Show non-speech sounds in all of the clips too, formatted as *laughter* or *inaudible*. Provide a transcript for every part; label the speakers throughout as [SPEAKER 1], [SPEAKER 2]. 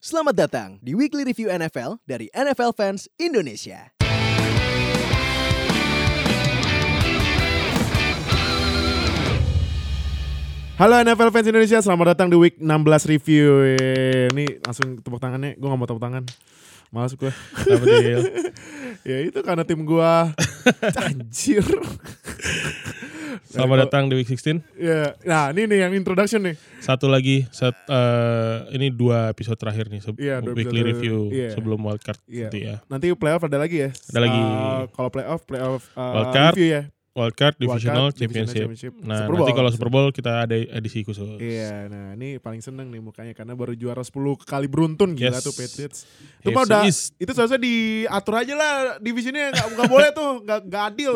[SPEAKER 1] Selamat datang di Weekly Review NFL dari NFL Fans Indonesia.
[SPEAKER 2] Halo NFL fans Indonesia, selamat datang di week 16 review. Yeay. Ini langsung tepuk tangannya, gue gak mau tepuk tangan. Males
[SPEAKER 3] *laughs*
[SPEAKER 2] gue. *laughs*
[SPEAKER 3] Kenapa Dil?
[SPEAKER 2] ya itu karena tim gue
[SPEAKER 3] *laughs*
[SPEAKER 2] anjir.
[SPEAKER 3] Selamat datang di Week 16.
[SPEAKER 2] Ya, nah ini nih yang introduction nih.
[SPEAKER 3] Satu lagi, set, eh, ini dua episode terakhir nih, se-
[SPEAKER 2] Iya, dua
[SPEAKER 3] weekly
[SPEAKER 2] episode.
[SPEAKER 3] review
[SPEAKER 2] Iya.
[SPEAKER 3] sebelum wildcard
[SPEAKER 2] Iya.
[SPEAKER 3] nanti ya.
[SPEAKER 2] Nanti playoff ada lagi ya?
[SPEAKER 3] Ada lagi.
[SPEAKER 2] Eh, kalau playoff, playoff eh,
[SPEAKER 3] Wildcard,
[SPEAKER 2] review ya.
[SPEAKER 3] Wildcard,
[SPEAKER 2] Wildcard,
[SPEAKER 3] divisional,
[SPEAKER 2] divisional
[SPEAKER 3] championship.
[SPEAKER 2] championship.
[SPEAKER 3] Nah,
[SPEAKER 2] Super
[SPEAKER 3] nanti
[SPEAKER 2] Bowl.
[SPEAKER 3] kalau Super Bowl kita ada edisi khusus.
[SPEAKER 2] Iya, nah ini paling seneng nih mukanya karena baru juara 10 kali beruntun gila
[SPEAKER 3] Yes.
[SPEAKER 2] tuh Patriots. Itu
[SPEAKER 3] AFC
[SPEAKER 2] mah udah
[SPEAKER 3] East.
[SPEAKER 2] itu seharusnya diatur aja lah divisinya nggak nggak boleh tuh nggak nggak
[SPEAKER 3] *laughs*
[SPEAKER 2] adil.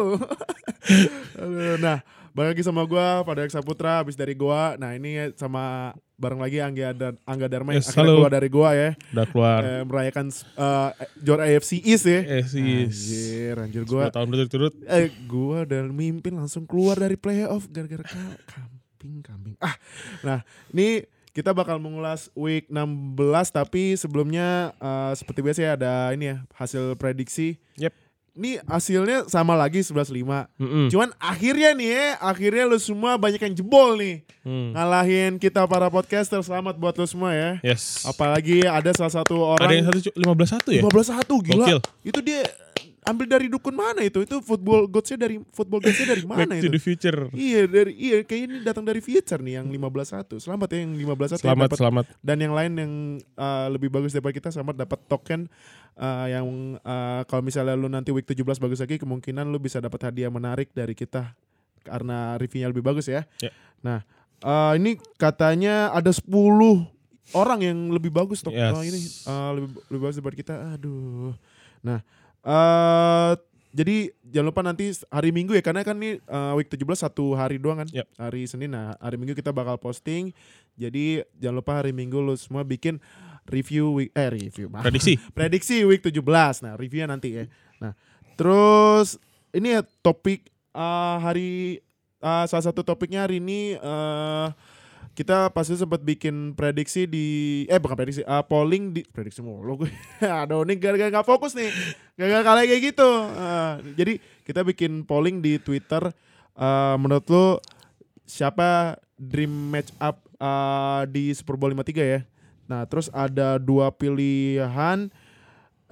[SPEAKER 2] Aduh, nah bareng lagi sama gua pada Eksa Putra habis dari gua. Nah ini sama bareng lagi Angga dan Angga Dharma yang
[SPEAKER 3] Yes,
[SPEAKER 2] akhirnya
[SPEAKER 3] halo.
[SPEAKER 2] keluar dari gua ya
[SPEAKER 3] Udah keluar.
[SPEAKER 2] eh, merayakan eh, juara AFC East ya.
[SPEAKER 3] Eh, si
[SPEAKER 2] Anjir, anjir
[SPEAKER 3] dua
[SPEAKER 2] gua
[SPEAKER 3] tahun berturut-turut.
[SPEAKER 2] eh gua dan mimpin langsung keluar dari playoff gara-gara ka- kambing kambing ah nah ini kita bakal mengulas week 16 tapi sebelumnya eh, seperti biasa ya ada ini ya hasil prediksi
[SPEAKER 3] Yep. Hmm.
[SPEAKER 2] ini hasilnya sama lagi 11-5
[SPEAKER 3] Mm-mm.
[SPEAKER 2] cuman akhirnya nih ya akhirnya lu semua banyak yang jebol nih
[SPEAKER 3] Hmm.
[SPEAKER 2] ngalahin kita para podcaster selamat buat lu semua ya
[SPEAKER 3] Yes.
[SPEAKER 2] apalagi ada salah satu orang
[SPEAKER 3] Ada yang satu cu- 15 satu ya?
[SPEAKER 2] 15-1 gila.
[SPEAKER 3] Gokil.
[SPEAKER 2] Itu dia ambil dari dukun mana itu? Itu football godsnya dari football godsnya
[SPEAKER 3] *laughs*
[SPEAKER 2] dari
[SPEAKER 3] Back
[SPEAKER 2] mana
[SPEAKER 3] to
[SPEAKER 2] itu?
[SPEAKER 3] the future.
[SPEAKER 2] Iya dari iya kayaknya ini datang dari Future nih yang 15-1. Selamat ya yang 15-1 yang
[SPEAKER 3] Selamat,
[SPEAKER 2] dapat.
[SPEAKER 3] selamat.
[SPEAKER 2] dan yang lain yang uh, lebih bagus daripada kita selamat dapat token uh, yang uh, kalau misalnya lu nanti week 17 bagus lagi kemungkinan lu bisa dapat hadiah menarik dari kita karena reviewnya lebih bagus ya.
[SPEAKER 3] Ya.
[SPEAKER 2] Nah, uh, ini katanya ada 10 orang yang lebih bagus tok
[SPEAKER 3] Yes.
[SPEAKER 2] oh, ini uh, lebih, lebih bagus daripada kita. Aduh. Nah, eh jadi jangan lupa nanti hari Minggu ya karena kan ini eh, week 17 satu hari doang kan.
[SPEAKER 3] Yep.
[SPEAKER 2] Hari Senin nah hari Minggu kita bakal posting. Jadi jangan lupa hari Minggu lu semua bikin review week eh review maaf.
[SPEAKER 3] Prediksi.
[SPEAKER 2] prediksi week 17. Nah, reviewnya nanti ya. Nah, terus ini ya topik eh, hari eh, salah satu topiknya hari ini eh kita pasti sempat bikin prediksi di eh bukan prediksi eh, polling di prediksi mulu gue *laughs* aduh ini gara-gara gak fokus nih gara-gara kalah kayak gitu Eh, jadi kita bikin polling di Twitter Eh, menurut lo siapa dream match up eh, di Super Bowl 53 ya nah terus ada dua pilihan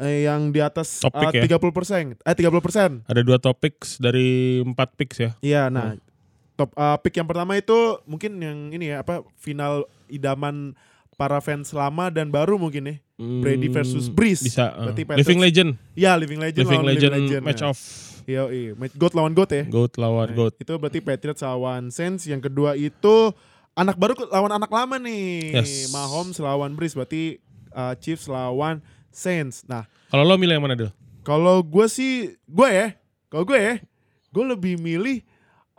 [SPEAKER 2] eh, yang di atas
[SPEAKER 3] Topik ya.
[SPEAKER 2] tiga puluh eh 30
[SPEAKER 3] Ada dua topik dari empat picks ya.
[SPEAKER 2] Iya, nah top uh, pick yang pertama itu mungkin yang ini ya apa final idaman para fans lama dan baru mungkin ya. nih.
[SPEAKER 3] Hmm.
[SPEAKER 2] Brady versus Breeze.
[SPEAKER 3] Bisa. eh.
[SPEAKER 2] Berarti Patriots-
[SPEAKER 3] Living Legend.
[SPEAKER 2] Ya Living Legend
[SPEAKER 3] Living
[SPEAKER 2] lawan
[SPEAKER 3] Legend,
[SPEAKER 2] Living Legend.
[SPEAKER 3] match
[SPEAKER 2] ya.
[SPEAKER 3] off.
[SPEAKER 2] Iya, iya. Match God lawan God ya.
[SPEAKER 3] Goat
[SPEAKER 2] Nah,
[SPEAKER 3] lawan Goat.
[SPEAKER 2] Itu berarti Patriots lawan Saints. Yang kedua itu anak baru ke- lawan anak lama nih.
[SPEAKER 3] Yes.
[SPEAKER 2] Mahomes lawan Breeze berarti uh, Chiefs lawan Saints. Nah,
[SPEAKER 3] Kalau lo milih yang mana Del?
[SPEAKER 2] kalau gue sih gue ya, kalau gue ya, gue lebih milih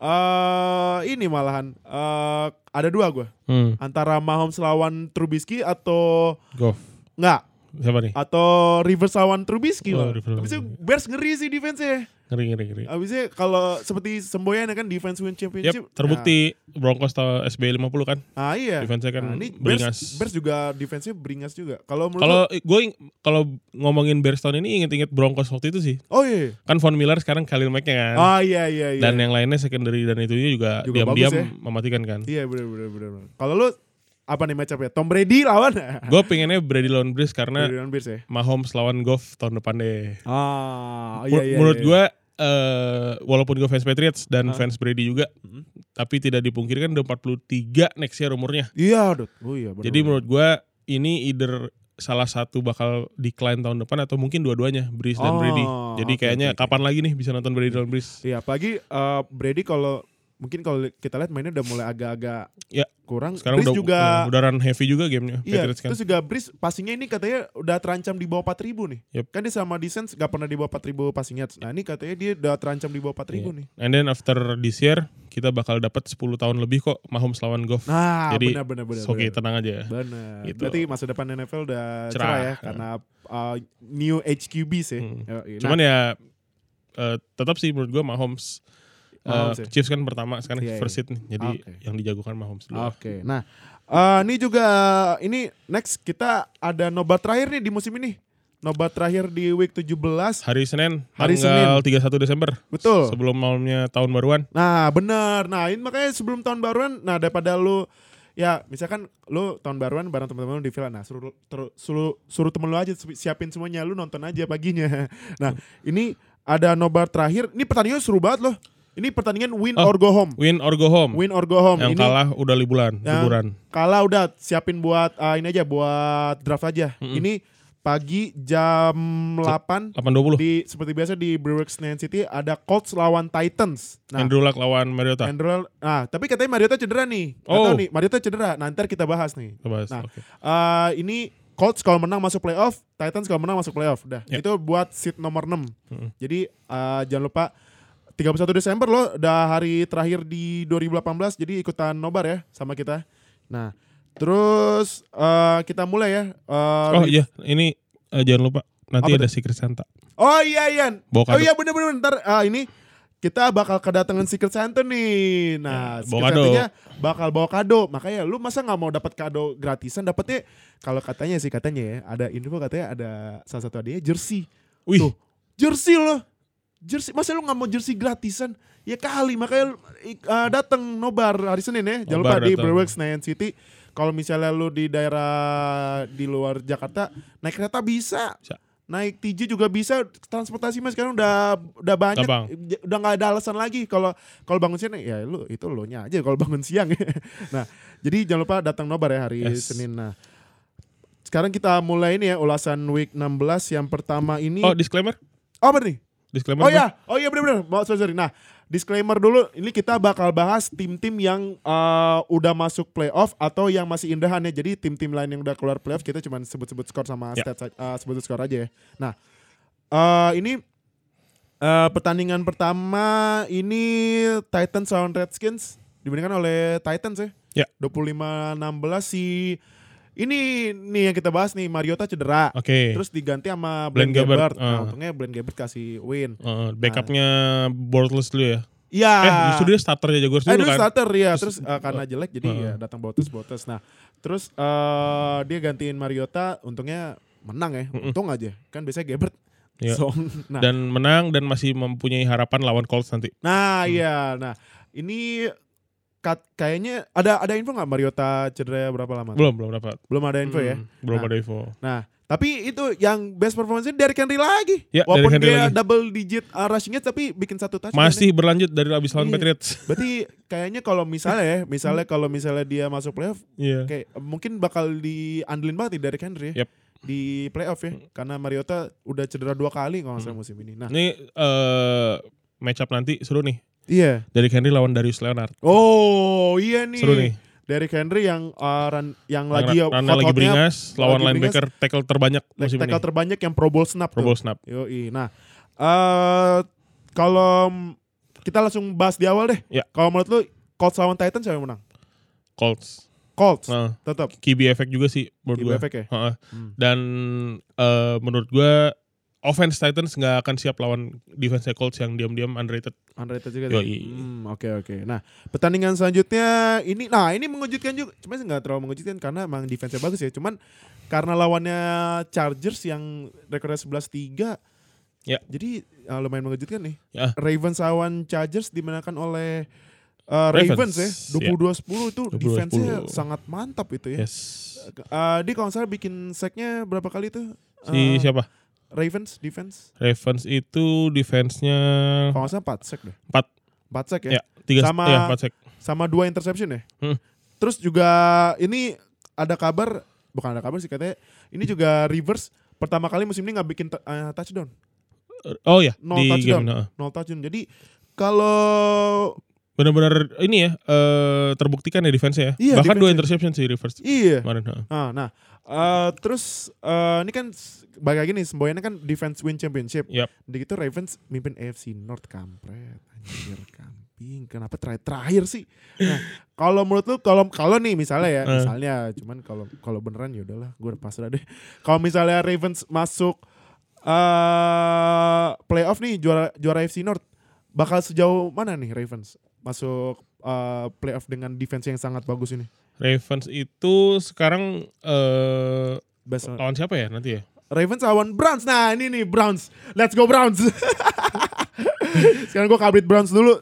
[SPEAKER 2] eh ini malahan eh ada dua gue.
[SPEAKER 3] Hmm.
[SPEAKER 2] antara Mahomes lawan Trubisky atau
[SPEAKER 3] Goff.
[SPEAKER 2] enggak
[SPEAKER 3] Siapa nih?
[SPEAKER 2] atau Rivers lawan Trubisky
[SPEAKER 3] Oh,
[SPEAKER 2] lah.
[SPEAKER 3] Rivers lawan
[SPEAKER 2] Abisnya Bears ngeri sih defense-nya.
[SPEAKER 3] Ngeri ngeri ngeri.
[SPEAKER 2] Abisnya kalau seperti semboyan ya kan defense win championship. ya.
[SPEAKER 3] Yep, terbukti Broncos tahu SB 50 kan.
[SPEAKER 2] Nah, ah iya.
[SPEAKER 3] Defense-nya kan
[SPEAKER 2] Nah, ini
[SPEAKER 3] beringas.
[SPEAKER 2] Bears, Bears juga defense-nya beringas juga. Kalau menurut
[SPEAKER 3] Kalau gue ing- kalau ngomongin Bears tahun ini inget-inget Broncos waktu itu sih.
[SPEAKER 2] lu- Oh iya.
[SPEAKER 3] Kan Von Miller sekarang Khalil Mack-nya kan.
[SPEAKER 2] Ah iya iya iya.
[SPEAKER 3] Dan yang lainnya secondary dan itu juga
[SPEAKER 2] Juga
[SPEAKER 3] diam-diam
[SPEAKER 2] bagus ya.
[SPEAKER 3] mematikan kan.
[SPEAKER 2] Iya benar benar benar. Kalau lu apa nih match up-nya? Tom Brady lawan *laughs*
[SPEAKER 3] Gue pengennya Brady lawan Breeze karena
[SPEAKER 2] Brady lawan Bears ya.
[SPEAKER 3] Mahomes lawan Goff tahun depan deh.
[SPEAKER 2] Ah
[SPEAKER 3] Mur-
[SPEAKER 2] iya iya.
[SPEAKER 3] menurut
[SPEAKER 2] iya.
[SPEAKER 3] gue eh, walaupun gue fans Patriots dan
[SPEAKER 2] Ah.
[SPEAKER 3] fans Brady juga,
[SPEAKER 2] Mhm.
[SPEAKER 3] tapi tidak dipungkirkan udah 43 next year umurnya.
[SPEAKER 2] Iya, Dut. Oh iya benar.
[SPEAKER 3] Jadi menurut gue ini either salah satu bakal decline tahun depan atau mungkin dua-duanya Breeze dan
[SPEAKER 2] Oh,
[SPEAKER 3] Brady. Jadi
[SPEAKER 2] oke,
[SPEAKER 3] kayaknya
[SPEAKER 2] oke, oke.
[SPEAKER 3] kapan lagi nih bisa nonton Brady dan Breeze?
[SPEAKER 2] Iya, apalagi eh, Brady kalau mungkin kalau kita lihat mainnya udah mulai agak-agak
[SPEAKER 3] Ya.
[SPEAKER 2] kurang.
[SPEAKER 3] Sekarang
[SPEAKER 2] Breeze
[SPEAKER 3] udah
[SPEAKER 2] juga
[SPEAKER 3] eh, udah run heavy juga gamenya
[SPEAKER 2] iya,
[SPEAKER 3] Patriots kan.
[SPEAKER 2] terus juga Breeze passingnya ini katanya udah terancam di bawah 4000 nih.
[SPEAKER 3] Yep.
[SPEAKER 2] Kan dia sama defense gak pernah di bawah 4000 passing yards. Nah, ini katanya dia udah terancam di bawah 4000
[SPEAKER 3] Iya.
[SPEAKER 2] nih.
[SPEAKER 3] And then after this year kita bakal dapat 10 tahun lebih kok Mahomes lawan Goff.
[SPEAKER 2] Nah,
[SPEAKER 3] Jadi,
[SPEAKER 2] benar benar benar.
[SPEAKER 3] It's okay,
[SPEAKER 2] benar.
[SPEAKER 3] tenang aja.
[SPEAKER 2] Benar.
[SPEAKER 3] Gitu.
[SPEAKER 2] Berarti masa depan NFL udah cerah,
[SPEAKER 3] Cerah.
[SPEAKER 2] ya karena eh, new HQB sih.
[SPEAKER 3] Hmm.
[SPEAKER 2] Yoi. Nah,
[SPEAKER 3] Cuman ya eh, tetap sih menurut gue Mahomes eh,
[SPEAKER 2] Mahomes ya?
[SPEAKER 3] Chiefs kan pertama sekarang
[SPEAKER 2] Iya, iya.
[SPEAKER 3] first seed nih. Jadi
[SPEAKER 2] Oke.
[SPEAKER 3] yang dijagokan Mahomes dulu.
[SPEAKER 2] Oke, nah Eh, ini juga ini next kita ada nobar terakhir nih di musim ini. Nobar terakhir di week 17.
[SPEAKER 3] Hari Senin,
[SPEAKER 2] Hari
[SPEAKER 3] tanggal 31 Desember.
[SPEAKER 2] Betul.
[SPEAKER 3] Sebelum malamnya tahun baruan.
[SPEAKER 2] Nah, benar. Nah, ini makanya sebelum tahun baruan, nah daripada lu ya misalkan lu tahun baruan bareng teman-teman lu di villa nah suruh ter- suruh suruh temen lu aja si- siapin semuanya lu nonton aja paginya *laughs* nah ini ada nobar terakhir ini pertandingan seru banget loh ini pertandingan win
[SPEAKER 3] Oh.
[SPEAKER 2] or go home
[SPEAKER 3] Win or go home.
[SPEAKER 2] win or go home ini
[SPEAKER 3] yang kalah udah liburan,
[SPEAKER 2] Yang-
[SPEAKER 3] liburan.
[SPEAKER 2] Ya, kalah udah siapin buat eh, ini aja buat draft aja ini pagi jam 8
[SPEAKER 3] 8.20.
[SPEAKER 2] di seperti biasa di Brewers Nain City ada Colts lawan Titans. Nah,
[SPEAKER 3] Andrew Luck lawan Mariota.
[SPEAKER 2] Andrew, nah tapi katanya Mariota cedera nih. Nggak
[SPEAKER 3] Oh.
[SPEAKER 2] tahu nih, Mariota cedera. Nah, ntar kita bahas nih.
[SPEAKER 3] Kita bahas,
[SPEAKER 2] Nah,
[SPEAKER 3] oke.
[SPEAKER 2] eh, ini Colts kalau menang masuk playoff, Titans kalau menang masuk playoff. Udah,
[SPEAKER 3] Ya.
[SPEAKER 2] itu buat seat nomor 6.
[SPEAKER 3] Mm-mm.
[SPEAKER 2] Jadi eh, jangan lupa 31 Desember loh, udah hari terakhir di 2018, jadi ikutan nobar ya sama kita. Nah, terus eh, kita mulai ya. Eh,
[SPEAKER 3] Oh iya, ini eh, jangan lupa nanti
[SPEAKER 2] Apa
[SPEAKER 3] ada Secret Santa.
[SPEAKER 2] Oh iya Ian.
[SPEAKER 3] Bawa kado.
[SPEAKER 2] Oh iya bener bener ntar ah, ini kita bakal kedatangan Secret Santa nih. Nah,
[SPEAKER 3] Ya,
[SPEAKER 2] Secret
[SPEAKER 3] bawa kado.
[SPEAKER 2] Santa-nya bakal bawa kado. Makanya lu masa nggak mau dapat kado gratisan? Dapatnya kalau katanya sih katanya ya ada info katanya ada salah satu hadiahnya jersey.
[SPEAKER 3] Wih,
[SPEAKER 2] Tuh, jersey loh. Jersey masa lu nggak mau jersey gratisan? Ya kali makanya lu, ik- ah, datang nobar hari Senin ya. Jangan
[SPEAKER 3] Nobar
[SPEAKER 2] lupa di
[SPEAKER 3] datang.
[SPEAKER 2] Brewerks Nayan City. Kalau misalnya lu di daerah di luar Jakarta naik kereta bisa
[SPEAKER 3] Sa-
[SPEAKER 2] naik TJ juga bisa transportasi mas sekarang udah udah banyak
[SPEAKER 3] Gampang.
[SPEAKER 2] J- udah nggak ada alasan lagi kalau kalau bangun siang ya lu itu lo nya aja kalau bangun siang *laughs* nah jadi jangan lupa datang nobar ya hari
[SPEAKER 3] Yes.
[SPEAKER 2] Senin nah sekarang kita mulai ini ya ulasan week 16 yang pertama ini
[SPEAKER 3] oh disclaimer,
[SPEAKER 2] oh apa nih
[SPEAKER 3] disclaimer.
[SPEAKER 2] Oh ya, oh iya benar-benar. Mau sorry, sorry. Nah, disclaimer dulu. Ini kita bakal bahas tim-tim yang eh, udah masuk playoff atau yang masih indahan ya. Jadi tim-tim lain yang udah keluar playoff kita cuma sebut-sebut skor sama
[SPEAKER 3] Ya.
[SPEAKER 2] stats eh, sebut skor aja ya. Nah, eh, ini eh, pertandingan pertama ini Titans lawan Redskins diberikan oleh Titans ya.
[SPEAKER 3] Ya.
[SPEAKER 2] 25-16 si ini nih yang kita bahas nih Mariota cedera.
[SPEAKER 3] Oke.
[SPEAKER 2] Terus diganti sama
[SPEAKER 3] Blaine
[SPEAKER 2] Blaine Gabbert.
[SPEAKER 3] Gabbert,
[SPEAKER 2] Nah,
[SPEAKER 3] ah.
[SPEAKER 2] untungnya Blaine Gabbert kasih win.
[SPEAKER 3] Eh, backupnya Bortles dulu ya.
[SPEAKER 2] Iya.
[SPEAKER 3] Eh, justru dia starternya Jaguars
[SPEAKER 2] Nah. Eh,
[SPEAKER 3] dulu
[SPEAKER 2] dulu
[SPEAKER 3] kan.
[SPEAKER 2] starter ya,
[SPEAKER 3] Terus-
[SPEAKER 2] terus eh, karena jelek jadi
[SPEAKER 3] Heeh.
[SPEAKER 2] ya datang botes botes. Nah, terus eh, dia gantiin Mariota, untungnya menang ya, untung aja. Kan biasanya Gebert
[SPEAKER 3] Iya.
[SPEAKER 2] song. Nah,
[SPEAKER 3] Dan menang dan masih mempunyai harapan lawan Colts nanti.
[SPEAKER 2] nah
[SPEAKER 3] Hmm.
[SPEAKER 2] iya, nah ini kat, kayaknya ada ada info nggak Mariota cedera berapa lama?
[SPEAKER 3] Belum, belum dapat.
[SPEAKER 2] Belum ada info ya.
[SPEAKER 3] Hmm, Belum
[SPEAKER 2] Nah.
[SPEAKER 3] ada info.
[SPEAKER 2] Nah, tapi itu yang best performance Derrick Henry lagi.
[SPEAKER 3] Ya,
[SPEAKER 2] Walaupun
[SPEAKER 3] Derrick Henry
[SPEAKER 2] dia
[SPEAKER 3] lagi.
[SPEAKER 2] double digit uh, rushing yards, tapi bikin satu touchdown.
[SPEAKER 3] Masih berlanjut dari abis lawan
[SPEAKER 2] Iya.
[SPEAKER 3] Patriots. *laughs*
[SPEAKER 2] Berarti kayaknya kalau misalnya ya, misalnya
[SPEAKER 3] Hmm.
[SPEAKER 2] kalau misalnya dia masuk playoff,
[SPEAKER 3] Iya.
[SPEAKER 2] kayak eh, mungkin bakal diandelin banget nih Derrick Henry ya.
[SPEAKER 3] Yep. Mm.
[SPEAKER 2] Di playoff ya, karena Mariota udah cedera dua kali kalau nggak salah musim ini. Nah,
[SPEAKER 3] Ini eh match up nanti seru nih.
[SPEAKER 2] iya.
[SPEAKER 3] Dari Henry lawan Darius Leonard.
[SPEAKER 2] Oh, iya nih.
[SPEAKER 3] Seru nih.
[SPEAKER 2] Derrick Henry yang eh, run- yang
[SPEAKER 3] Yang
[SPEAKER 2] lagi
[SPEAKER 3] ra- runnya lagi
[SPEAKER 2] hot-hotnya,
[SPEAKER 3] beringas lawan
[SPEAKER 2] lagi beringas.
[SPEAKER 3] linebacker tackle terbanyak musim ini.
[SPEAKER 2] tackle terbanyak yang Pro Bowl snap
[SPEAKER 3] Pro
[SPEAKER 2] tuh.
[SPEAKER 3] Bowl snap.
[SPEAKER 2] Yoi. Nah, eh kalau kita langsung bahas di awal deh.
[SPEAKER 3] Ya.
[SPEAKER 2] Kalau menurut lu Colts lawan Titans siapa yang menang?
[SPEAKER 3] Colts.
[SPEAKER 2] Colts.
[SPEAKER 3] Nah,
[SPEAKER 2] Tetap.
[SPEAKER 3] QB efek juga sih menurut
[SPEAKER 2] Di
[SPEAKER 3] gue.
[SPEAKER 2] efek ya.
[SPEAKER 3] Heeh.
[SPEAKER 2] Hmm.
[SPEAKER 3] Dan eh, menurut gue offense Titans nggak akan siap lawan defense Colts yang diam-diam underrated.
[SPEAKER 2] Underrated juga.
[SPEAKER 3] Yoi.
[SPEAKER 2] sih. Hmm, oke oke. Nah, pertandingan selanjutnya ini nah ini mengejutkan juga. Cuman nggak terlalu mengejutkan karena emang defense-nya bagus ya. Cuman karena lawannya Chargers yang rekornya 11-3
[SPEAKER 3] Ya.
[SPEAKER 2] Jadi eh, lumayan mengejutkan nih.
[SPEAKER 3] Ya.
[SPEAKER 2] Ravens lawan Chargers dimenangkan oleh eh, Ravens,
[SPEAKER 3] Ravens,
[SPEAKER 2] ya.
[SPEAKER 3] ya.
[SPEAKER 2] 22-10 itu
[SPEAKER 3] 22-10.
[SPEAKER 2] defense-nya sangat mantap itu ya.
[SPEAKER 3] Yes.
[SPEAKER 2] Eh, dia kalau nggak salah bikin sacknya berapa kali tuh?
[SPEAKER 3] Si
[SPEAKER 2] Eh,
[SPEAKER 3] siapa?
[SPEAKER 2] Ravens defense.
[SPEAKER 3] Ravens itu defense-nya
[SPEAKER 2] Kalau nggak salah 4 sack deh.
[SPEAKER 3] Empat.
[SPEAKER 2] 4 sack ya.
[SPEAKER 3] ya, tiga
[SPEAKER 2] Sama-
[SPEAKER 3] ya, empat sek.
[SPEAKER 2] sama dua interception ya.
[SPEAKER 3] Hmm.
[SPEAKER 2] Terus juga ini ada kabar bukan ada kabar sih katanya ini juga reverse pertama kali musim ini nggak bikin t- eh, touchdown,
[SPEAKER 3] Oh ya,
[SPEAKER 2] No
[SPEAKER 3] di
[SPEAKER 2] touchdown.
[SPEAKER 3] game. heeh.
[SPEAKER 2] nol touchdown. Jadi kalau
[SPEAKER 3] Benar-benar ini ya eh, terbuktikan ya defense ya.
[SPEAKER 2] Iya,
[SPEAKER 3] Bahkan dua
[SPEAKER 2] defense-nya.
[SPEAKER 3] interception sih reverse
[SPEAKER 2] iya.
[SPEAKER 3] kemarin. ah. heeh.
[SPEAKER 2] Nah, nah eh, terus eh, ini kan s- balik lagi nih semboyannya kan defense win championship.
[SPEAKER 3] Yap.
[SPEAKER 2] Di gitu Ravens mimpin AFC North kampret. Anjir *laughs* kambing. Kenapa terakhir terakhir sih? Nah, kalau menurut lu kalau kalau nih misalnya ya,
[SPEAKER 3] Eh.
[SPEAKER 2] misalnya cuman kalau kalau beneran ya udahlah, gue udah pasrah deh. Kalau misalnya Ravens masuk eh playoff nih juara juara AFC North bakal sejauh mana nih Ravens masuk eh, playoff dengan defense yang sangat bagus ini?
[SPEAKER 3] Ravens itu sekarang eh
[SPEAKER 2] Best
[SPEAKER 3] lawan siapa ya nanti ya?
[SPEAKER 2] Ravens lawan Browns. Nah, ini nih Browns. Let's go Browns. *laughs* Sekarang gue update Browns dulu.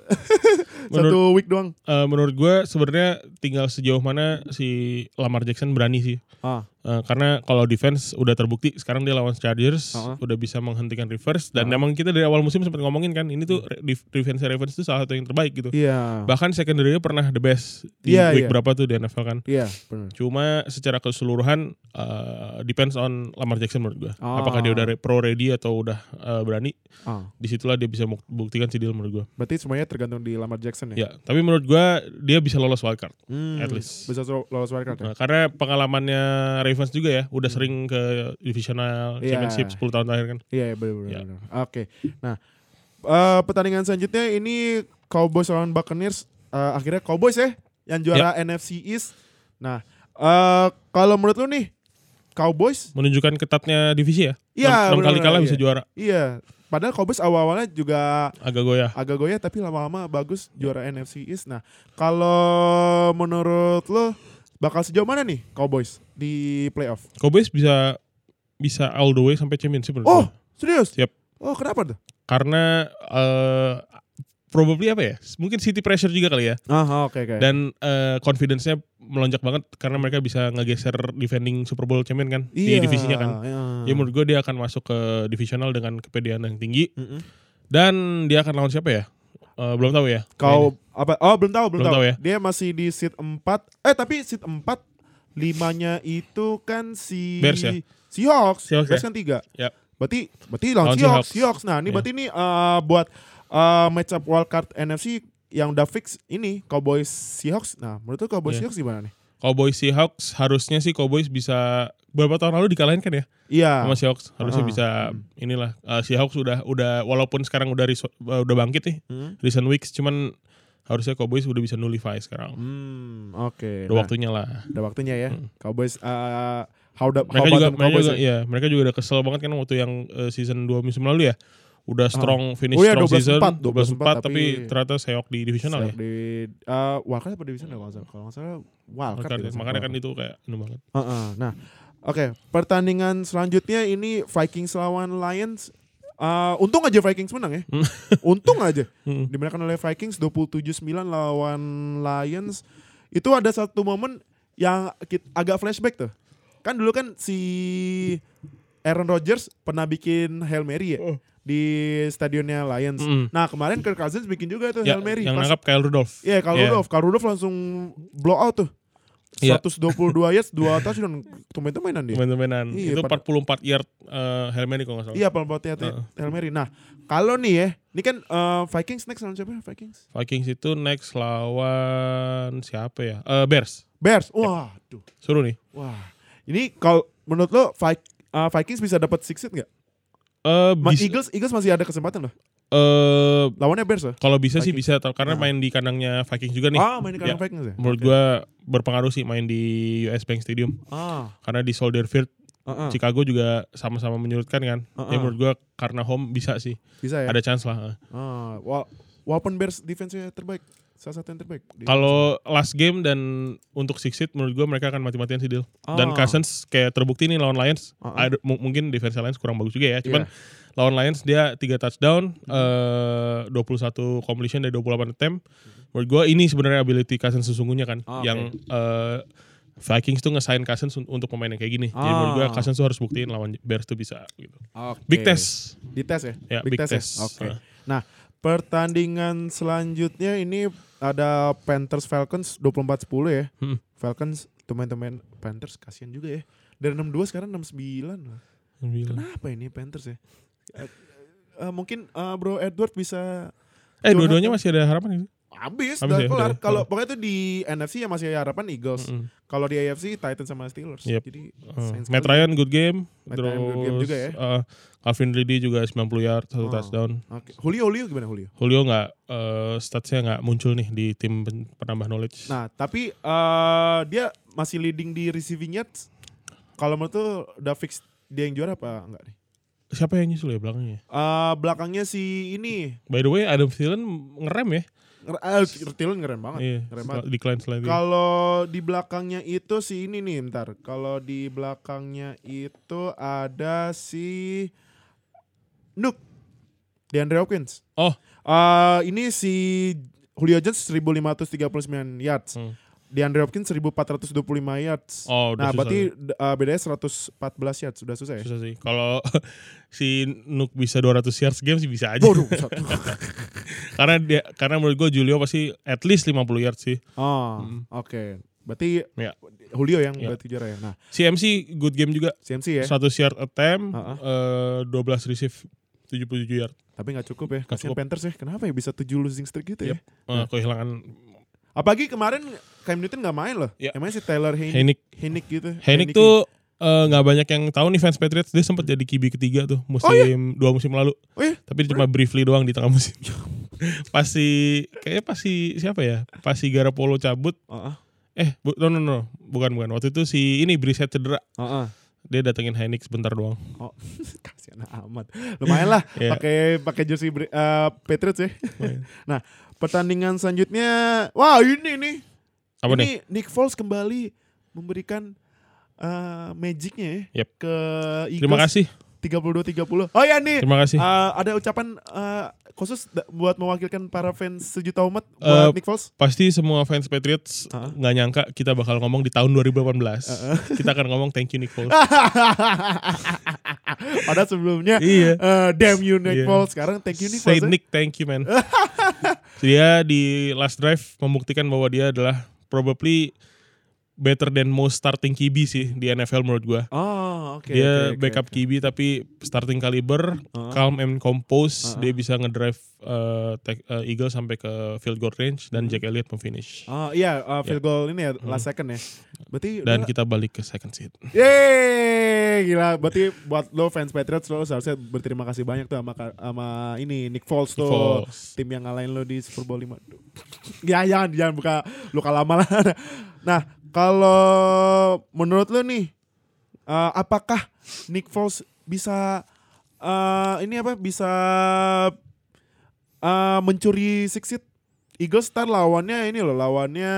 [SPEAKER 2] Satu week doang.
[SPEAKER 3] Eh, menurut gue sebenarnya tinggal sejauh mana si Lamar Jackson berani sih.
[SPEAKER 2] Ah,
[SPEAKER 3] Eh, karena kalau defense udah terbukti sekarang dia lawan Chargers
[SPEAKER 2] Uh-huh.
[SPEAKER 3] udah bisa menghentikan Rivers dan
[SPEAKER 2] Uh-huh.
[SPEAKER 3] memang kita dari awal musim sempat ngomongin kan ini tuh re- def- defense Ravens itu salah satu yang terbaik gitu.
[SPEAKER 2] iya.
[SPEAKER 3] Bahkan secondary-nya pernah the best di
[SPEAKER 2] Iya,
[SPEAKER 3] week
[SPEAKER 2] iya.
[SPEAKER 3] berapa tuh di NFL kan.
[SPEAKER 2] Iya, benar.
[SPEAKER 3] Cuma secara keseluruhan eh, depends on Lamar Jackson menurut gua.
[SPEAKER 2] Ah.
[SPEAKER 3] Apakah dia udah re- pro ready atau udah eh, berani?
[SPEAKER 2] Ah,
[SPEAKER 3] Disitulah dia bisa muk- buktikan si deal menurut gua.
[SPEAKER 2] berarti semuanya tergantung di Lamar Jackson ya.
[SPEAKER 3] Ya, tapi menurut gua dia bisa lolos wildcard.
[SPEAKER 2] Hmm,
[SPEAKER 3] at least.
[SPEAKER 2] Bisa so- lolos wildcard ya.
[SPEAKER 3] Nah, karena pengalamannya Ravens juga ya, udah sering ke
[SPEAKER 2] Hmm.
[SPEAKER 3] divisional
[SPEAKER 2] Iya.
[SPEAKER 3] championship 10 tahun terakhir kan.
[SPEAKER 2] Iya, iya, benar benar.
[SPEAKER 3] Ya.
[SPEAKER 2] benar. Oke. Nah, eh, pertandingan selanjutnya ini Cowboys lawan Buccaneers. Eh, akhirnya Cowboys ya yang juara
[SPEAKER 3] Iya.
[SPEAKER 2] NFC East. Nah, eh kalau menurut lu nih Cowboys
[SPEAKER 3] Menunjukkan ketatnya divisi ya.
[SPEAKER 2] Iya,
[SPEAKER 3] 6 kali
[SPEAKER 2] benar-benar,
[SPEAKER 3] kalah
[SPEAKER 2] iya.
[SPEAKER 3] bisa juara.
[SPEAKER 2] Iya, padahal Cowboys awal-awalnya juga
[SPEAKER 3] Agak goyah.
[SPEAKER 2] agak goyah tapi lama-lama bagus
[SPEAKER 3] Ya.
[SPEAKER 2] juara NFC East. Nah, kalau menurut lo bakal sejauh mana nih Cowboys di playoff?
[SPEAKER 3] Cowboys bisa bisa all the way sampai championship menurut
[SPEAKER 2] Oh,
[SPEAKER 3] gua.
[SPEAKER 2] serius?
[SPEAKER 3] Yap.
[SPEAKER 2] Oh, kenapa tuh?
[SPEAKER 3] Karena eh probably apa ya? Mungkin city pressure juga kali ya.
[SPEAKER 2] Ah, oke oke.
[SPEAKER 3] Dan eh, confidence-nya melonjak banget karena mereka bisa ngegeser defending Super Bowl champion kan di divisinya kan.
[SPEAKER 2] Iya.
[SPEAKER 3] Ya menurut gue dia akan masuk ke divisional dengan kepedean yang tinggi
[SPEAKER 2] Mm-mm.
[SPEAKER 3] dan dia akan lawan siapa ya? Eh, belum tahu ya.
[SPEAKER 2] Kau apa? Oh, belum tahu, belum,
[SPEAKER 3] Belum
[SPEAKER 2] tahu.
[SPEAKER 3] tahu ya.
[SPEAKER 2] Dia masih di seat 4. Eh, tapi seat 4 limanya itu kan si
[SPEAKER 3] Bears ya?
[SPEAKER 2] Seahawks.
[SPEAKER 3] Seahawks
[SPEAKER 2] Bears
[SPEAKER 3] ya?
[SPEAKER 2] kan 3.
[SPEAKER 3] Yap.
[SPEAKER 2] Berarti berarti lawan
[SPEAKER 3] Lawan
[SPEAKER 2] Seahawks.
[SPEAKER 3] Seahawks.
[SPEAKER 2] Seahawks. Nah, ini
[SPEAKER 3] Iya.
[SPEAKER 2] berarti ini eh, buat eh, match up wild card NFC yang udah fix ini Cowboys Seahawks. Nah, menurut lu Cowboys
[SPEAKER 3] Iya.
[SPEAKER 2] Seahawks gimana nih?
[SPEAKER 3] Cowboys Seahawks harusnya sih Cowboys bisa beberapa tahun lalu dikalahin kan ya
[SPEAKER 2] Iya.
[SPEAKER 3] sama Seahawks harusnya
[SPEAKER 2] Ah.
[SPEAKER 3] bisa inilah eh, Seahawks udah udah walaupun sekarang udah riso- eh, udah bangkit nih
[SPEAKER 2] Hmm.
[SPEAKER 3] recent weeks cuman harusnya Cowboys udah bisa nullify sekarang
[SPEAKER 2] Hmm, oke.
[SPEAKER 3] udah
[SPEAKER 2] Nah,
[SPEAKER 3] waktunya lah
[SPEAKER 2] udah waktunya ya.
[SPEAKER 3] Hmm.
[SPEAKER 2] Cowboys eh, how the how
[SPEAKER 3] mereka juga
[SPEAKER 2] about them
[SPEAKER 3] mereka
[SPEAKER 2] Cowboys
[SPEAKER 3] juga
[SPEAKER 2] ya?
[SPEAKER 3] ya mereka juga udah kesel banget kan waktu yang eh, season 2 musim lalu ya udah strong finish
[SPEAKER 2] Oh iya,
[SPEAKER 3] strong
[SPEAKER 2] 12-4,
[SPEAKER 3] season
[SPEAKER 2] 12-4,
[SPEAKER 3] 12-4 tapi
[SPEAKER 2] tapi
[SPEAKER 3] ternyata seok di divisional ya
[SPEAKER 2] Siap Di eh, wildcard apa division ya kalau nggak salah? Kalau nggak salah wildcard.
[SPEAKER 3] Makanya-
[SPEAKER 2] ya, kalau
[SPEAKER 3] makanya
[SPEAKER 2] nggak
[SPEAKER 3] kan itu kayak anu banget
[SPEAKER 2] Heeh, Nah, oke pertandingan selanjutnya ini Vikings lawan Lions. Eh, untung aja Vikings menang ya. *laughs* untung aja.
[SPEAKER 3] Hmm.
[SPEAKER 2] Dimenangkan oleh Vikings 27-9 lawan Lions. Itu ada satu momen yang kit- agak flashback tuh. Kan dulu kan si Aaron Rodgers pernah bikin Hail Mary ya
[SPEAKER 3] Oh.
[SPEAKER 2] di stadionnya Lions.
[SPEAKER 3] Mm.
[SPEAKER 2] Nah, kemarin Kirk Cousins bikin juga tuh
[SPEAKER 3] Ya,
[SPEAKER 2] Hail Mary
[SPEAKER 3] yang
[SPEAKER 2] pas
[SPEAKER 3] nangkap Kyle Rudolph
[SPEAKER 2] Iya, Karl
[SPEAKER 3] Iya.
[SPEAKER 2] Rudolph. Karl Rudolph langsung blow out tuh.
[SPEAKER 3] Iya.
[SPEAKER 2] 122 yards, 2 touchdown. Tumben-tumbenan dia.
[SPEAKER 3] teman-temanan
[SPEAKER 2] Iya,
[SPEAKER 3] itu
[SPEAKER 2] pada-
[SPEAKER 3] 44 yard eh Hail Mary kalau nggak salah
[SPEAKER 2] Iya, pelompoknya
[SPEAKER 3] Heeh.
[SPEAKER 2] Hail Mary. Nah, kalau nih ya, ini kan eh, Vikings next lawan siapa? Vikings?
[SPEAKER 3] Vikings itu next lawan siapa ya Eh Bears
[SPEAKER 2] Bears.
[SPEAKER 3] Iya.
[SPEAKER 2] Wah, aduh.
[SPEAKER 3] suruh nih
[SPEAKER 2] Wah. Ini kalau menurut lo Vi- eh, Vikings bisa dapat six seed nggak?
[SPEAKER 3] Eh
[SPEAKER 2] Ma-
[SPEAKER 3] bisa-
[SPEAKER 2] Eagles Eagles masih ada kesempatan loh.
[SPEAKER 3] eh,
[SPEAKER 2] Lawannya Bears loh.
[SPEAKER 3] kalau bisa sih
[SPEAKER 2] Vikings.
[SPEAKER 3] bisa tau, karena
[SPEAKER 2] Ah.
[SPEAKER 3] main di kandangnya Vikings juga nih
[SPEAKER 2] Ah, main di kandang
[SPEAKER 3] Ya.
[SPEAKER 2] Vikings ya.
[SPEAKER 3] menurut
[SPEAKER 2] Oke.
[SPEAKER 3] gua berpengaruh sih main di US Bank Stadium
[SPEAKER 2] Ah,
[SPEAKER 3] karena di Soldier Field
[SPEAKER 2] heeh.
[SPEAKER 3] Chicago juga sama-sama menyurutkan kan
[SPEAKER 2] Ah,
[SPEAKER 3] ya
[SPEAKER 2] ah.
[SPEAKER 3] menurut gua karena home bisa sih
[SPEAKER 2] bisa ya.
[SPEAKER 3] ada chance lah
[SPEAKER 2] Ah, wa- walaupun Bears defense-nya terbaik, salah satu yang terbaik. Di-
[SPEAKER 3] kalau last game dan untuk six seed menurut gua mereka akan mati-matian sih deal
[SPEAKER 2] Ah.
[SPEAKER 3] dan Cousins kayak terbukti nih lawan Lions
[SPEAKER 2] Ah, ah.
[SPEAKER 3] I don't- mu- mungkin defense Lions kurang bagus juga ya
[SPEAKER 2] Iya. Hmm.
[SPEAKER 3] cuman lawan Lions dia 3 touchdown eh 21 completion dari 28 attempt menurut gue ini sebenarnya ability Cousins sesungguhnya kan
[SPEAKER 2] Ah, oke.
[SPEAKER 3] yang eh, Vikings tuh nge-sign Cousins un- untuk pemain yang kayak gini jadi menurut gue
[SPEAKER 2] Ah.
[SPEAKER 3] Cousins tuh harus buktiin lawan Bears tuh bisa gitu
[SPEAKER 2] Oke.
[SPEAKER 3] big test
[SPEAKER 2] Di tes ya?
[SPEAKER 3] Ya, big test.
[SPEAKER 2] ya? Oke.
[SPEAKER 3] Heeh.
[SPEAKER 2] Nah, pertandingan selanjutnya ini ada Panthers Falcons 24-10 ya.
[SPEAKER 3] Hmm.
[SPEAKER 2] Falcons teman-teman Panthers kasihan juga ya. Dari 62 sekarang 69. lah. Kenapa ini Panthers ya? Eh, eh, mungkin eh, Bro Edward bisa
[SPEAKER 3] eh dua-duanya masih ada harapan gitu
[SPEAKER 2] habis,
[SPEAKER 3] Habis
[SPEAKER 2] udah
[SPEAKER 3] ya,
[SPEAKER 2] kelar.
[SPEAKER 3] udah.
[SPEAKER 2] Kalau pokoknya itu di NFC ya masih ada harapan Eagles.
[SPEAKER 3] Mm-mm.
[SPEAKER 2] Kalau di AFC Titans sama Steelers.
[SPEAKER 3] Yep.
[SPEAKER 2] Jadi
[SPEAKER 3] Eh,
[SPEAKER 2] sayang
[SPEAKER 3] Matt
[SPEAKER 2] sekali.
[SPEAKER 3] Ryan good game
[SPEAKER 2] Matt
[SPEAKER 3] terus
[SPEAKER 2] Ryan good game juga ya.
[SPEAKER 3] eh, Calvin Ridley juga 90 yard satu
[SPEAKER 2] Ah.
[SPEAKER 3] touchdown
[SPEAKER 2] Oke. Julio Julio gimana Julio?
[SPEAKER 3] Julio nggak eh, statsnya nggak muncul nih di tim pen- penambah knowledge
[SPEAKER 2] Nah, tapi eh, dia masih leading di receiving yards. Kalau menurut tuh udah fix dia yang juara apa enggak nih?
[SPEAKER 3] siapa yang nyusul ya belakangnya
[SPEAKER 2] Eh belakangnya si ini
[SPEAKER 3] By the way, Adam Thielen ngerem ya.
[SPEAKER 2] Eh, Tillen keren banget.
[SPEAKER 3] Iya,
[SPEAKER 2] keren
[SPEAKER 3] setelah-
[SPEAKER 2] banget.
[SPEAKER 3] di client selain itu.
[SPEAKER 2] Kalau di belakangnya itu si ini nih, ntar. Kalau di belakangnya itu ada si Nuk, DeAndre Hopkins.
[SPEAKER 3] Oh,
[SPEAKER 2] Eh, ini si Julio Jones 1539 yards.
[SPEAKER 3] Hmm.
[SPEAKER 2] DeAndre Hopkins 1425 yards.
[SPEAKER 3] oh
[SPEAKER 2] nah,
[SPEAKER 3] udah susah.
[SPEAKER 2] berarti eh, bedanya 114 yards. Sudah susah ya?
[SPEAKER 3] susah sih. Kalau *laughs* si Nuk bisa 200 yards game sih bisa aja.
[SPEAKER 2] Waduh, Oh, satu.
[SPEAKER 3] *laughs* karena dia karena menurut gue Julio pasti at least 50 yards sih.
[SPEAKER 2] Oh,
[SPEAKER 3] Hmm.
[SPEAKER 2] oke. Berarti
[SPEAKER 3] Ya.
[SPEAKER 2] Julio yang
[SPEAKER 3] Ya.
[SPEAKER 2] berarti juara ya. Nah,
[SPEAKER 3] CMC good game juga.
[SPEAKER 2] CMC ya,
[SPEAKER 3] 100 yard attempt,
[SPEAKER 2] Ha-ha.
[SPEAKER 3] eh, 12 receive 77 yard.
[SPEAKER 2] tapi nggak cukup ya. Kasihan
[SPEAKER 3] cukup.
[SPEAKER 2] Panthers ya. Kenapa ya bisa 7 losing streak gitu ya?
[SPEAKER 3] Yep. Eh, kehilangan
[SPEAKER 2] Apalagi kemarin Cam Newton nggak main loh.
[SPEAKER 3] Ya.
[SPEAKER 2] Emangnya si Taylor Heinik,
[SPEAKER 3] Heinik.
[SPEAKER 2] Heinik gitu.
[SPEAKER 3] Heinik tuh eh, nggak banyak yang tahu nih fans Patriots dia sempat jadi QB ketiga tuh
[SPEAKER 2] Oh,
[SPEAKER 3] musim dua musim lalu.
[SPEAKER 2] Oh iya?
[SPEAKER 3] Tapi cuma briefly doang di tengah musim.
[SPEAKER 2] Ya
[SPEAKER 3] *laughs* pasti kayaknya pasti siapa ya? Pasti Garapolo cabut.
[SPEAKER 2] Heeh.
[SPEAKER 3] Eh, bu, no no no, bukan bukan. Waktu itu si ini Brissett cedera.
[SPEAKER 2] Heeh.
[SPEAKER 3] Dia datengin Heinik sebentar doang.
[SPEAKER 2] Oh, *laughs* kasihan amat. Lumayan lah
[SPEAKER 3] Iya. Oh,
[SPEAKER 2] pakai pakai jersey Bri- eh, Patriots ya. *laughs* nah, pertandingan selanjutnya wah ini nih.
[SPEAKER 3] Apa nih?
[SPEAKER 2] ini Nick Foles kembali memberikan eh, magicnya ya
[SPEAKER 3] Yep.
[SPEAKER 2] ke Eagles.
[SPEAKER 3] Terima kasih.
[SPEAKER 2] 32-30. Oh ya nih.
[SPEAKER 3] Terima kasih.
[SPEAKER 2] eh, ada ucapan eh, khusus da- buat mewakilkan para fans sejuta umat
[SPEAKER 3] Eh,
[SPEAKER 2] buat Nick Foles. *laughs*
[SPEAKER 3] Pasti semua fans Patriots
[SPEAKER 2] Hah?
[SPEAKER 3] nggak nyangka kita bakal ngomong di tahun 2018.
[SPEAKER 2] Ah,
[SPEAKER 3] Kita akan ngomong thank you Nick Foles.
[SPEAKER 2] Padahal sebelumnya
[SPEAKER 3] iya.
[SPEAKER 2] eh, damn you Nick
[SPEAKER 3] Iya.
[SPEAKER 2] Foles. Sekarang thank you Nick
[SPEAKER 3] Say
[SPEAKER 2] Foles. ya.
[SPEAKER 3] Nick thank you man. *laughs* dia di last drive membuktikan bahwa dia adalah probably better than most starting QB sih di NFL menurut gua.
[SPEAKER 2] Oh, oke. oke,
[SPEAKER 3] dia
[SPEAKER 2] oke.
[SPEAKER 3] backup QB tapi starting caliber,
[SPEAKER 2] Heeh.
[SPEAKER 3] calm and compose,
[SPEAKER 2] Heeh.
[SPEAKER 3] dia bisa ngedrive eh, tag- eh, Eagles sampai ke field goal range dan Jack Elliott memfinish.
[SPEAKER 2] Hmm. Oh iya, uh, field goal ini ya last second ya. Berarti
[SPEAKER 3] Dan
[SPEAKER 2] udah-
[SPEAKER 3] kita balik ke second seat.
[SPEAKER 2] Yeay, gila. Berarti buat lo fans Patriots lo seharusnya berterima kasih banyak tuh sama ka- sama ini Nick Foles tuh.
[SPEAKER 3] Foles.
[SPEAKER 2] Tim yang ngalahin lo di Super Bowl 5. Duh. ya jangan jangan buka luka lama lah. *laughs* Nah, kalau menurut lo nih eh, apakah Nick Foles bisa eh, ini apa bisa eh, mencuri six seat Eagles ntar lawannya ini loh lawannya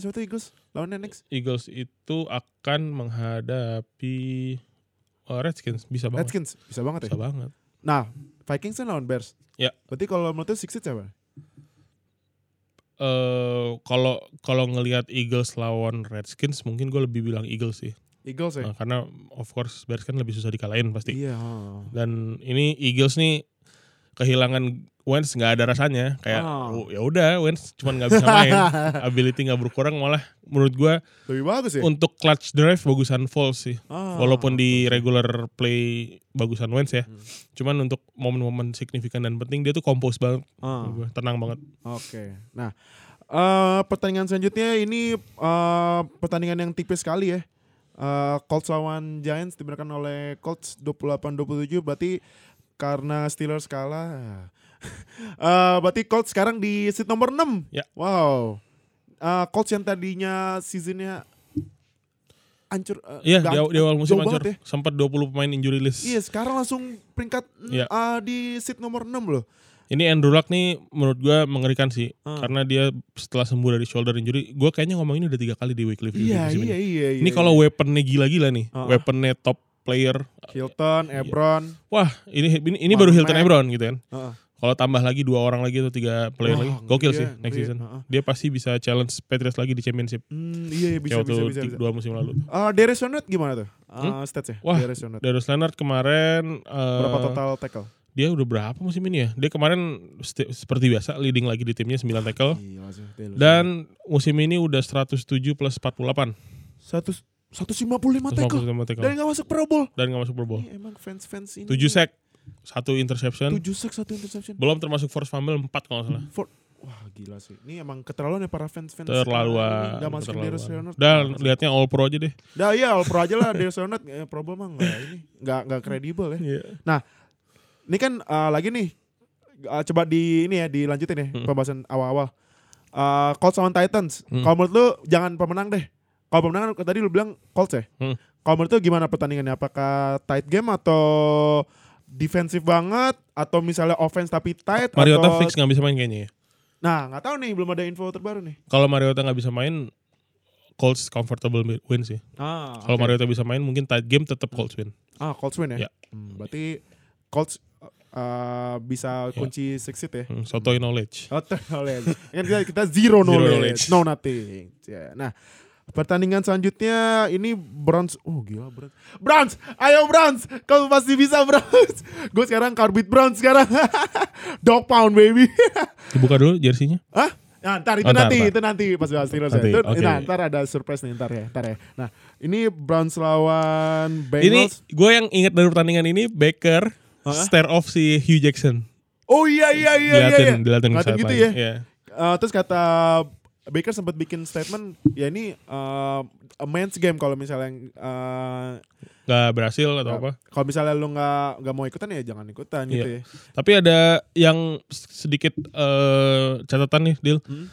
[SPEAKER 2] siapa tuh Eagles lawannya next
[SPEAKER 3] Eagles itu akan menghadapi oh, Redskins bisa banget.
[SPEAKER 2] Redskins bisa banget ya
[SPEAKER 3] Bisa banget.
[SPEAKER 2] Nah, Vikings kan lawan Bears.
[SPEAKER 3] Ya.
[SPEAKER 2] Berarti kalau menurut lu six seed siapa?
[SPEAKER 3] Eh, kalau kalau ngelihat Eagles lawan Redskins mungkin gue lebih bilang Eagles sih.
[SPEAKER 2] Eagles ya?
[SPEAKER 3] Nah, karena of course Bears kan lebih susah dikalahin pasti.
[SPEAKER 2] Iya. oh.
[SPEAKER 3] dan ini Eagles nih kehilangan Wentz nggak ada rasanya kayak
[SPEAKER 2] Oh.
[SPEAKER 3] "Oh, ya udah Wentz cuman nggak bisa
[SPEAKER 2] *laughs*
[SPEAKER 3] main ability nggak berkurang malah menurut gua
[SPEAKER 2] Lebih bagus ya?
[SPEAKER 3] untuk clutch drive bagusan Falls sih
[SPEAKER 2] Ah. Hmm.
[SPEAKER 3] walaupun di regular play bagusan Wentz ya cuman untuk momen-momen signifikan dan penting dia tuh kompos banget
[SPEAKER 2] Ah,
[SPEAKER 3] menurut gua. tenang banget
[SPEAKER 2] Oke. Nah, eh pertandingan selanjutnya ini eh pertandingan yang tipis sekali ya. Eh Colts lawan Giants dimenangkan oleh Colts 28-27 berarti karena Steelers kalah. *laughs* Eh berarti Colts sekarang di seat nomor 6.
[SPEAKER 3] Ya.
[SPEAKER 2] Wow. Eh Colts yang tadinya seasonnya hancur eh,
[SPEAKER 3] iya
[SPEAKER 2] nggak-
[SPEAKER 3] di, awal- di awal musim
[SPEAKER 2] jauh banget ya.
[SPEAKER 3] hancur sempat 20 pemain injury list
[SPEAKER 2] Iya sekarang langsung peringkat mm,
[SPEAKER 3] Iya.
[SPEAKER 2] ah, di seat nomor 6 loh.
[SPEAKER 3] Ini Andrew Luck nih menurut gua mengerikan sih
[SPEAKER 2] Hmm.
[SPEAKER 3] karena dia setelah sembuh dari shoulder injury, gua kayaknya ngomong ini udah tiga kali di weekly review
[SPEAKER 2] Iya
[SPEAKER 3] musim
[SPEAKER 2] iya
[SPEAKER 3] ini.
[SPEAKER 2] iya.
[SPEAKER 3] Ini kalau weaponnya gila-gila nih,
[SPEAKER 2] Ah.
[SPEAKER 3] weaponnya top player.
[SPEAKER 2] Hilton,
[SPEAKER 3] Iya.
[SPEAKER 2] Ebron,
[SPEAKER 3] Wah ini ini, ini
[SPEAKER 2] Mark
[SPEAKER 3] baru Hilton
[SPEAKER 2] Mack.
[SPEAKER 3] Ebron gitu kan.
[SPEAKER 2] Heeh.
[SPEAKER 3] Kalau tambah lagi dua orang lagi atau tiga player
[SPEAKER 2] Wah,
[SPEAKER 3] lagi,
[SPEAKER 2] ngeri
[SPEAKER 3] gokil
[SPEAKER 2] ya,
[SPEAKER 3] sih
[SPEAKER 2] ngeri
[SPEAKER 3] next
[SPEAKER 2] ya.
[SPEAKER 3] season.
[SPEAKER 2] Ah, ah.
[SPEAKER 3] Dia pasti bisa challenge Patriots lagi di championship.
[SPEAKER 2] Hmm, iya iya, bisa bisa
[SPEAKER 3] Kayak waktu
[SPEAKER 2] bisa.
[SPEAKER 3] ti-
[SPEAKER 2] bisa.
[SPEAKER 3] dua musim lalu.
[SPEAKER 2] Ah, Darius Leonard gimana tuh? Ah, stats ya.
[SPEAKER 3] Wah,
[SPEAKER 2] Darius Leonard.
[SPEAKER 3] Darius Leonard kemarin eh,
[SPEAKER 2] Berapa total tackle?
[SPEAKER 3] Dia udah berapa musim ini ya? Dia kemarin sti- seperti biasa leading lagi di timnya 9 tackle.
[SPEAKER 2] Gila sih, Darius Leonard.
[SPEAKER 3] Dan musim ini udah 107 plus 48.
[SPEAKER 2] satu 155 tackle Oh,
[SPEAKER 3] 155
[SPEAKER 2] dan Iya.
[SPEAKER 3] tackle.
[SPEAKER 2] nggak masuk Pro Bowl.
[SPEAKER 3] Dan nggak masuk Pro Bowl.
[SPEAKER 2] Ini emang fans-fans ini.
[SPEAKER 3] 7 sack, kan? 1 interception.
[SPEAKER 2] 7 sack, 1 interception.
[SPEAKER 3] Belum termasuk force fumble 4 kalau nggak salah.
[SPEAKER 2] Ford. Wah, gila sih. Ini emang keterlaluan ya para fans-fans.
[SPEAKER 3] Terlaluan.
[SPEAKER 2] Enggak masukin Darius
[SPEAKER 3] terlaluan.
[SPEAKER 2] Leonard.
[SPEAKER 3] Dan lihatnya all pro aja deh.
[SPEAKER 2] Dah iya all pro aja lah Darius Leonard eh, pro Bowl mah enggak ini. Enggak enggak kredibel ya. Ini kan eh, lagi nih eh, coba di ini ya dilanjutin ya
[SPEAKER 3] Hmm.
[SPEAKER 2] pembahasan awal-awal. Eh Colts lawan Titans.
[SPEAKER 3] Hmm.
[SPEAKER 2] Kalau menurut lu jangan pemenang deh. Kalau pemenang kan tadi lu bilang Colts ya.
[SPEAKER 3] Hmm.
[SPEAKER 2] Kalau menurut lu gimana pertandingannya? Apakah tight game atau defensif banget atau misalnya offense tapi tight
[SPEAKER 3] Mariota
[SPEAKER 2] atau
[SPEAKER 3] fix nggak bisa main kayaknya ya.
[SPEAKER 2] Nah, nggak tahu nih, belum ada info terbaru nih.
[SPEAKER 3] Kalau Mariota nggak bisa main, Colts comfortable win sih.
[SPEAKER 2] Ah,
[SPEAKER 3] Kalau
[SPEAKER 2] oke.
[SPEAKER 3] Mariota bisa main, mungkin tight game tetap Colts win.
[SPEAKER 2] Ah, Colts win ya.
[SPEAKER 3] Ya.
[SPEAKER 2] Hmm, berarti Colts uh, bisa
[SPEAKER 3] Ya.
[SPEAKER 2] kunci six seed ya.
[SPEAKER 3] Hmm, Sotoy knowledge.
[SPEAKER 2] Oh, third knowledge. Kan kita, kita zero knowledge,
[SPEAKER 3] knowledge.
[SPEAKER 2] no nothing. Ya, Nah, pertandingan selanjutnya ini Browns. Oh, gila Browns. Browns, ayo Browns. Kamu pasti bisa Browns. Gue sekarang karbit Browns sekarang. *laughs* Dog pound baby. *laughs*
[SPEAKER 3] Dibuka dulu jersinya.
[SPEAKER 2] Hah? Nah, ntar itu
[SPEAKER 3] Oh, ntar,
[SPEAKER 2] nanti,
[SPEAKER 3] ntar.
[SPEAKER 2] itu nanti pas bahas Steelers
[SPEAKER 3] Nanti,
[SPEAKER 2] ya. Itu,
[SPEAKER 3] oke.
[SPEAKER 2] nah, ntar ada surprise nih, ntar ya, ntar ya. Nah, ini Browns lawan
[SPEAKER 3] Ini
[SPEAKER 2] Bengals.
[SPEAKER 3] gue yang ingat dari pertandingan ini Baker
[SPEAKER 2] Hah?
[SPEAKER 3] stare off si Hugh Jackson.
[SPEAKER 2] oh iya iya iya iya.
[SPEAKER 3] Dilaten,
[SPEAKER 2] iya.
[SPEAKER 3] dilaten ke
[SPEAKER 2] Ngeliatin gitu
[SPEAKER 3] sideline.
[SPEAKER 2] ya.
[SPEAKER 3] Iya.
[SPEAKER 2] Eh, terus kata Baker sempat bikin statement, ya ini eh, a man's game kalau misalnya eh,
[SPEAKER 3] Nggak berhasil atau apa. Iya.
[SPEAKER 2] kalau misalnya lu nggak nggak mau ikutan ya jangan ikutan gitu ya.
[SPEAKER 3] Tapi ada yang sedikit eh, catatan nih, Dil.
[SPEAKER 2] Hmm.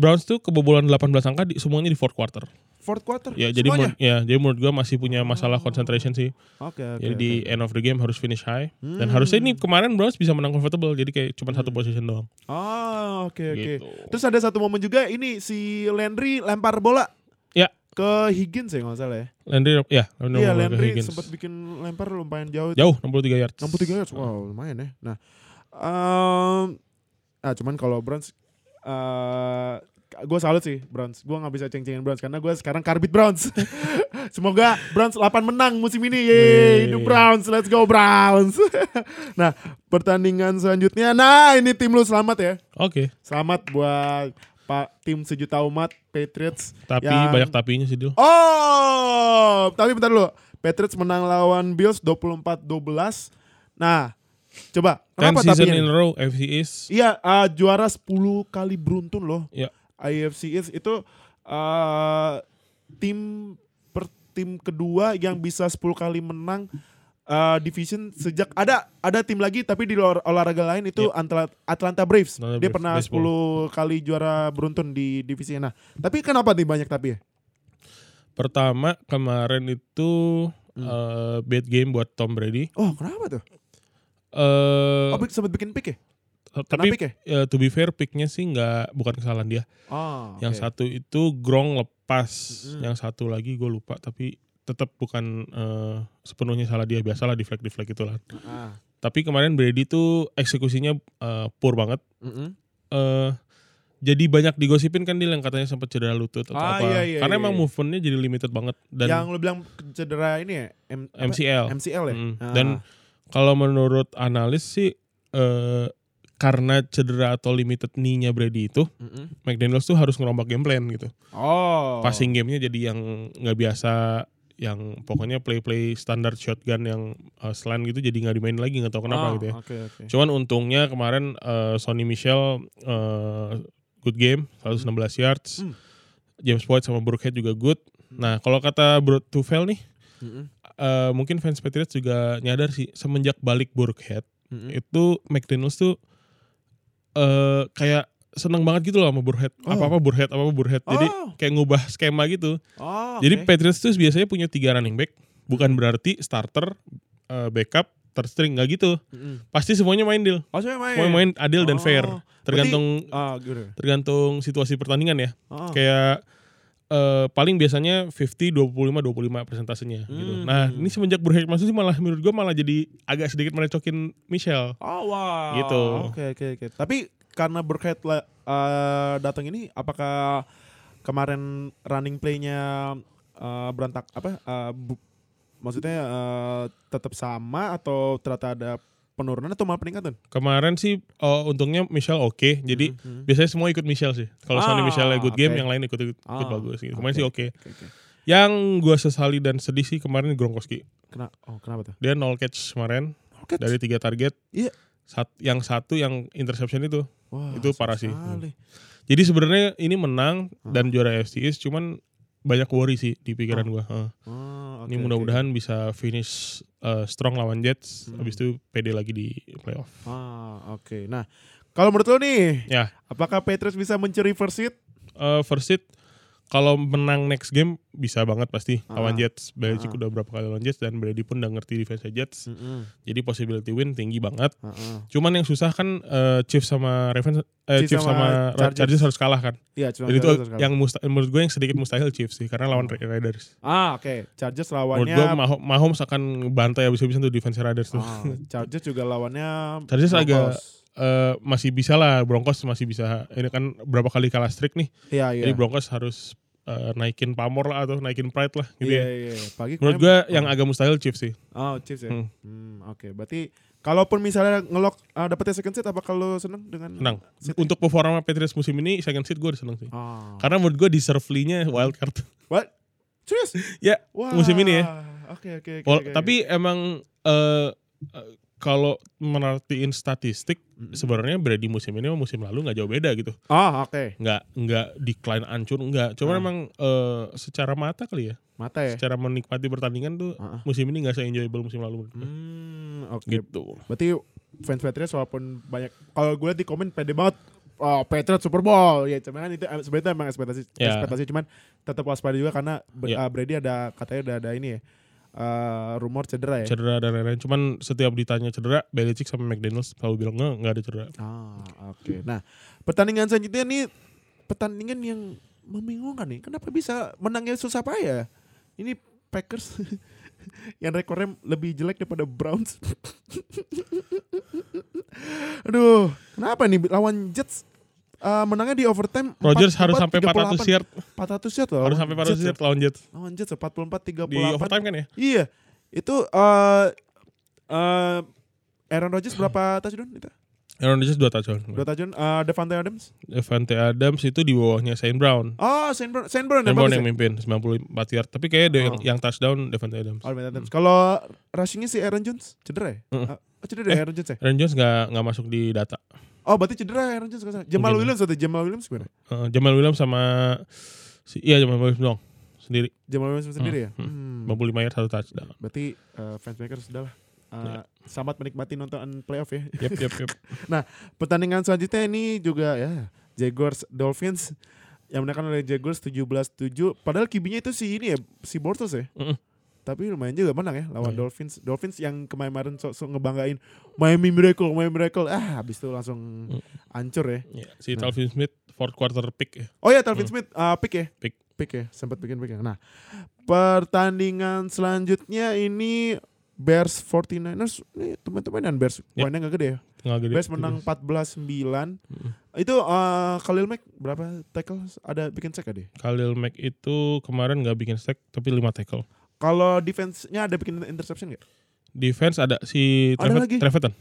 [SPEAKER 3] Browns tuh kebobolan 18 angka di, semuanya di fourth quarter.
[SPEAKER 2] Fourth quarter.
[SPEAKER 3] Ya, jadi
[SPEAKER 2] semuanya?
[SPEAKER 3] menurut, ya, jadi menurut gua masih punya masalah concentration sih.
[SPEAKER 2] Oke oke.
[SPEAKER 3] Jadi di
[SPEAKER 2] oke. Hmm.
[SPEAKER 3] end of the game harus finish high. Dan harusnya ini kemarin Browns bisa menang comfortable. Jadi kayak cuma satu position doang.
[SPEAKER 2] Oh oke Hmm. oke.
[SPEAKER 3] Gitu.
[SPEAKER 2] Terus ada satu momen juga ini si Landry lempar bola
[SPEAKER 3] Ya.
[SPEAKER 2] ke Higgins ya nggak salah ya.
[SPEAKER 3] Landry ya, Landry,
[SPEAKER 2] Iya
[SPEAKER 3] ngomong ke
[SPEAKER 2] Landry
[SPEAKER 3] Higgins.
[SPEAKER 2] sempat bikin lempar lumayan jauh.
[SPEAKER 3] jauh 63 yards.
[SPEAKER 2] 63 yards. Wow, lumayan ya. Nah, em, ah cuman kalau Browns eh gue salut sih Browns. Gue nggak bisa ceng-cengin Browns karena gue sekarang karbit Browns. *laughs* Semoga Browns 8 menang musim ini. Yeay, hidup Browns. Let's go Browns. *laughs* nah, pertandingan selanjutnya. Nah, ini tim lu selamat ya.
[SPEAKER 3] Oke,
[SPEAKER 2] Selamat buat Pak tim sejuta umat Patriots.
[SPEAKER 3] tapi
[SPEAKER 2] yang-
[SPEAKER 3] banyak tapinya sih, Dil.
[SPEAKER 2] Oh, tapi bentar dulu. Patriots menang lawan Bills 24-12. Nah, coba.
[SPEAKER 3] 10
[SPEAKER 2] Kenapa
[SPEAKER 3] Kan season
[SPEAKER 2] tapinya
[SPEAKER 3] in
[SPEAKER 2] nih?
[SPEAKER 3] a row AFC East.
[SPEAKER 2] Iya, eh, juara 10 kali beruntun loh.
[SPEAKER 3] Ya,
[SPEAKER 2] IFC East itu eh, tim per tim kedua yang bisa 10 kali menang eh, division sejak ada ada tim lagi tapi di luar olahraga lain itu Antla- Atlanta Braves.
[SPEAKER 3] Iya. Atlanta
[SPEAKER 2] Dia
[SPEAKER 3] Braves,
[SPEAKER 2] pernah
[SPEAKER 3] baseball.
[SPEAKER 2] 10 kali juara beruntun di divisi. Nah, tapi kenapa nih banyak tapi ya?
[SPEAKER 3] pertama kemarin itu
[SPEAKER 2] Hmm.
[SPEAKER 3] eh, bad game buat Tom Brady.
[SPEAKER 2] Oh, kenapa tuh?
[SPEAKER 3] Eh
[SPEAKER 2] Oh, sempat bikin pick ya?
[SPEAKER 3] tapi
[SPEAKER 2] pick ya?
[SPEAKER 3] eh, to be fair picknya sih nggak bukan kesalahan dia.
[SPEAKER 2] Oh, oke.
[SPEAKER 3] Yang
[SPEAKER 2] Hmm.
[SPEAKER 3] satu itu Grong lepas,
[SPEAKER 2] Mm-mm.
[SPEAKER 3] yang satu lagi gue lupa tapi tetap bukan eh, sepenuhnya salah dia biasalah deflect deflect itulah.
[SPEAKER 2] Ah.
[SPEAKER 3] Tapi kemarin Brady tuh eksekusinya eh, poor banget.
[SPEAKER 2] Mm-mm.
[SPEAKER 3] eh jadi banyak digosipin kan dia yang katanya sempat cedera lutut atau
[SPEAKER 2] Ah,
[SPEAKER 3] apa.
[SPEAKER 2] iya, iya, iya,
[SPEAKER 3] Karena emang
[SPEAKER 2] iya.
[SPEAKER 3] movementnya jadi limited banget dan
[SPEAKER 2] yang lu bilang cedera ini ya? M- apa?
[SPEAKER 3] MCL.
[SPEAKER 2] MCL ya?
[SPEAKER 3] Mm.
[SPEAKER 2] Ah.
[SPEAKER 3] Dan kalau menurut analis sih eh karena cedera atau limited knee-nya Brady itu,
[SPEAKER 2] Mm-mm.
[SPEAKER 3] McDaniels tuh harus ngerombak game plan gitu.
[SPEAKER 2] Oh.
[SPEAKER 3] Passing game-nya jadi yang nggak biasa yang pokoknya play-play standar shotgun yang eh, slant gitu jadi nggak dimain lagi nggak tahu kenapa
[SPEAKER 2] Ah,
[SPEAKER 3] gitu ya.
[SPEAKER 2] Oke, oke.
[SPEAKER 3] Cuman untungnya kemarin eh, Sonny Michel eh, good game 116 yards.
[SPEAKER 2] Hmm.
[SPEAKER 3] James White sama Burkhead juga good. Nah, kalau kata Bro Tufel nih,
[SPEAKER 2] Mm-mm.
[SPEAKER 3] eh, mungkin fans Patriots juga nyadar sih semenjak balik Burkhead
[SPEAKER 2] Mm-mm.
[SPEAKER 3] Hmm. itu McDaniels tuh eh kayak seneng banget gitu loh sama Burhead.
[SPEAKER 2] Oh.
[SPEAKER 3] Apa-apa Burhead, apa-apa Burhead. Jadi
[SPEAKER 2] Oh.
[SPEAKER 3] kayak ngubah skema gitu.
[SPEAKER 2] Oh,
[SPEAKER 3] Jadi
[SPEAKER 2] oke.
[SPEAKER 3] Patriots tuh biasanya punya tiga running back. Bukan berarti starter, eh, backup, third string. Nggak gitu.
[SPEAKER 2] Mm-mm.
[SPEAKER 3] Pasti semuanya main deal.
[SPEAKER 2] Oh, semuanya main.
[SPEAKER 3] Semuanya main adil dan
[SPEAKER 2] Oh.
[SPEAKER 3] fair.
[SPEAKER 2] Berarti-
[SPEAKER 3] Tergantung
[SPEAKER 2] Ah, gitu.
[SPEAKER 3] tergantung situasi pertandingan ya.
[SPEAKER 2] Oh.
[SPEAKER 3] Kayak eh, paling biasanya 50 25 25 persentasenya gitu.
[SPEAKER 2] Hmm.
[SPEAKER 3] Nah, ini semenjak Burhead masuk sih malah menurut gua malah jadi agak sedikit merecokin Michelle.
[SPEAKER 2] Oh, wow.
[SPEAKER 3] Gitu.
[SPEAKER 2] Oke, oke, oke. Tapi karena berkait la- eh, datang ini apakah kemarin running play-nya eh, berantak apa eh, bu- maksudnya eh, tetap sama atau ternyata ada penurunan atau malah peningkatan?
[SPEAKER 3] Kemarin sih eh, untungnya Michelle oke. Jadi
[SPEAKER 2] Mhm.
[SPEAKER 3] biasanya semua ikut Michelle sih. Kalau
[SPEAKER 2] Ah,
[SPEAKER 3] Sony Michelle good game,
[SPEAKER 2] oke.
[SPEAKER 3] yang lain ikut ikut, ikut
[SPEAKER 2] Ah,
[SPEAKER 3] bagus gitu. Kemarin sih oke.
[SPEAKER 2] Oke, oke.
[SPEAKER 3] Yang gua sesali dan sedih sih kemarin Gronkowski.
[SPEAKER 2] Kena oh kenapa tuh?
[SPEAKER 3] Dia nol catch kemarin
[SPEAKER 2] Oke.
[SPEAKER 3] dari tiga target.
[SPEAKER 2] Iya.
[SPEAKER 3] Sat- yang satu yang interception itu.
[SPEAKER 2] Wah,
[SPEAKER 3] itu parah sih.
[SPEAKER 2] sekali.
[SPEAKER 3] Jadi sebenarnya ini menang
[SPEAKER 2] Hmm.
[SPEAKER 3] dan juara AFC East cuman banyak worry sih di pikiran gua. Heeh.
[SPEAKER 2] Oh, oke,
[SPEAKER 3] ini
[SPEAKER 2] oke.
[SPEAKER 3] mudah-mudahan bisa finish eh, strong lawan Jets
[SPEAKER 2] Hmm.
[SPEAKER 3] habis itu PD lagi di playoff.
[SPEAKER 2] Ah, oke. Nah, kalau menurut lo nih,
[SPEAKER 3] Ya,
[SPEAKER 2] apakah Patriots bisa mencuri first seed?
[SPEAKER 3] eh, first seed kalau menang next game bisa banget pasti
[SPEAKER 2] Ah.
[SPEAKER 3] lawan
[SPEAKER 2] Hmm.
[SPEAKER 3] Jets. Belichick udah berapa kali lawan Jets dan Brady pun udah ngerti defense Jets.
[SPEAKER 2] Mm-mm.
[SPEAKER 3] Jadi possibility win tinggi banget.
[SPEAKER 2] Heeh.
[SPEAKER 3] Cuman yang susah kan eh, Chiefs sama Ravens eh,
[SPEAKER 2] Chiefs
[SPEAKER 3] Chiefs
[SPEAKER 2] sama
[SPEAKER 3] sama, Chargers.
[SPEAKER 2] Chargers
[SPEAKER 3] harus kalah kan.
[SPEAKER 2] Iya, cuma
[SPEAKER 3] Jadi itu
[SPEAKER 2] Chargers kalah.
[SPEAKER 3] yang musta- menurut gue yang sedikit mustahil Chiefs sih karena lawan Raiders.
[SPEAKER 2] ah oke Chargers
[SPEAKER 3] Menurut gue
[SPEAKER 2] lawannya
[SPEAKER 3] Mah- Mahomes akan bantai habis-habisan tuh defense Raiders tuh.
[SPEAKER 2] Ah, Chargers juga lawannya
[SPEAKER 3] gitu. Chargers
[SPEAKER 2] Broncos.
[SPEAKER 3] agak- *laughs* Eh, masih bisa lah Broncos masih bisa. Ini kan berapa kali kalah streak nih.
[SPEAKER 2] Iya iya.
[SPEAKER 3] Jadi Broncos harus eh, naikin pamor lah atau naikin pride lah gitu
[SPEAKER 2] Iya
[SPEAKER 3] ya.
[SPEAKER 2] iya. iya. Pagi
[SPEAKER 3] Menurut
[SPEAKER 2] kemarin-
[SPEAKER 3] gue yang agak mustahil Chiefs sih.
[SPEAKER 2] Oh, Chiefs ya. Hmm.
[SPEAKER 3] Hmm.
[SPEAKER 2] Oke, berarti kalaupun misalnya ngelok ah, dapetnya second seat apa kalau seneng dengan
[SPEAKER 3] Senang.
[SPEAKER 2] Seat?
[SPEAKER 3] Untuk performa Patriots musim ini second seed gue udah seneng sih.
[SPEAKER 2] Ah.
[SPEAKER 3] Karena menurut gue deservedly-nya wild card.
[SPEAKER 2] What? Serius?
[SPEAKER 3] *laughs* Ya,
[SPEAKER 2] Wah.
[SPEAKER 3] musim ini ya.
[SPEAKER 2] Oke, oke, oke.
[SPEAKER 3] Wal-
[SPEAKER 2] oke.
[SPEAKER 3] tapi emang eh, eh, kalau merhatiin statistik
[SPEAKER 2] Mm.
[SPEAKER 3] sebenarnya Brady musim ini sama musim lalu nggak jauh beda gitu.
[SPEAKER 2] Ah, oke.
[SPEAKER 3] Nggak nggak decline ancur nggak. Cuma
[SPEAKER 2] Ah.
[SPEAKER 3] emang eh, secara mata kali ya,
[SPEAKER 2] Mata ya.
[SPEAKER 3] secara menikmati pertandingan tuh
[SPEAKER 2] Ah, ah.
[SPEAKER 3] musim ini nggak se-enjoyable musim lalu. menurut gue.
[SPEAKER 2] Hmm, oke.
[SPEAKER 3] Gitu.
[SPEAKER 2] Berarti fans Patriots walaupun banyak kalau gue lihat di komen pede banget oh, Patriots Super Bowl ya cuman kan itu eh, sebenarnya emang ekspektasi
[SPEAKER 3] Ya.
[SPEAKER 2] ekspektasi cuman tetap waspada juga karena Ber-
[SPEAKER 3] Ya.
[SPEAKER 2] ah, Brady ada katanya udah ada ini ya eh, rumor cedera ya.
[SPEAKER 3] Cedera dan lain-lain. Cuman setiap ditanya cedera, Belichick sama McDaniels selalu bilang nggak nggak ada cedera.
[SPEAKER 2] Ah,
[SPEAKER 3] Gitu.
[SPEAKER 2] oke. Nah, pertandingan selanjutnya nih pertandingan yang membingungkan nih. Kenapa bisa menangnya susah payah? Ini Packers *laughs* yang rekornya lebih jelek daripada Browns. *laughs* Aduh, kenapa nih lawan Jets eh, menangnya di overtime?
[SPEAKER 3] Rodgers harus sampai 400
[SPEAKER 2] 438.
[SPEAKER 3] yard,
[SPEAKER 2] 400 yard loh.
[SPEAKER 3] harus
[SPEAKER 2] lawan
[SPEAKER 3] sampai 400
[SPEAKER 2] Jets
[SPEAKER 3] yard lawan Jets
[SPEAKER 2] loh. Lawan Jets 44 38.
[SPEAKER 3] di overtime kan ya?
[SPEAKER 2] Iya. Itu eh eh, Aaron Rodgers berapa touchdown itu?
[SPEAKER 3] Aaron Rodgers 2 touchdown.
[SPEAKER 2] Dua tajun eh Devante Adams.
[SPEAKER 3] Devante Adams itu di bawahnya Shane Brown.
[SPEAKER 2] Oh, Saint Brown, Saint Brown, yang
[SPEAKER 3] Brown
[SPEAKER 2] bagus
[SPEAKER 3] yang
[SPEAKER 2] ya?
[SPEAKER 3] mimpin 94 yard. Tapi kayaknya ada yang,
[SPEAKER 2] Oh.
[SPEAKER 3] yang touchdown Devante Adams.
[SPEAKER 2] Oh, Devante Adams. Kalau rushingnya si Aaron Jones cedera ya?
[SPEAKER 3] Mm.
[SPEAKER 2] Ah, Oh, cedera ya Aaron Jones ya?
[SPEAKER 3] Aaron Jones nggak nggak masuk di data.
[SPEAKER 2] Oh, berarti cedera Aaron Jones. kalau salah. Jamal
[SPEAKER 3] Mungkin.
[SPEAKER 2] Williams atau Jamal Williams gimana?
[SPEAKER 3] Eh, Jamal Williams sama si iya Jamal Williams dong sendiri
[SPEAKER 2] Jamal Williams sendiri ya?
[SPEAKER 3] Mm.
[SPEAKER 2] Hmm.
[SPEAKER 3] 95 yard satu touchdown.
[SPEAKER 2] Berarti eh, fans Packers sudah lah.
[SPEAKER 3] Ya.
[SPEAKER 2] Eh, Selamat menikmati nonton playoff ya.
[SPEAKER 3] Yep yep
[SPEAKER 2] *laughs*
[SPEAKER 3] yep.
[SPEAKER 2] Pertandingan selanjutnya ini juga ya Jaguars Dolphins yang menangkan oleh Jaguars 17-7. Padahal kibinya itu si ini ya, si Bortles ya.
[SPEAKER 3] Mm-mm.
[SPEAKER 2] Tapi lumayan juga menang ya lawan
[SPEAKER 3] Iya.
[SPEAKER 2] Dolphins. Dolphins yang kemarin-kemarin sok-sok ngebanggain Miami Miracle, Miami Miracle. Ah, habis itu langsung
[SPEAKER 3] Mm.
[SPEAKER 2] hancur ya.
[SPEAKER 3] Ya, si
[SPEAKER 2] Nah.
[SPEAKER 3] Talvin Smith fourth quarter pick ya.
[SPEAKER 2] Oh ya, Talvin
[SPEAKER 3] Hmm.
[SPEAKER 2] Smith uh, pick ya.
[SPEAKER 3] Pick.
[SPEAKER 2] ya, sempat bikin pick ya. Nah, pertandingan selanjutnya ini Bears 49ers ini teman-teman dan Bears
[SPEAKER 3] Ya.
[SPEAKER 2] mainnya gak gede ya.
[SPEAKER 3] Nggak gede.
[SPEAKER 2] Bears menang 14-9.
[SPEAKER 3] Mm.
[SPEAKER 2] Itu eh, Khalil Mack berapa tackle ada bikin sack gak deh?
[SPEAKER 3] Khalil Mack itu kemarin nggak bikin sack tapi 5 tackle.
[SPEAKER 2] Kalau defense-nya ada bikin interception gak?
[SPEAKER 3] Defense ada si
[SPEAKER 2] Ada
[SPEAKER 3] Trevet-
[SPEAKER 2] lagi?
[SPEAKER 3] Treveton.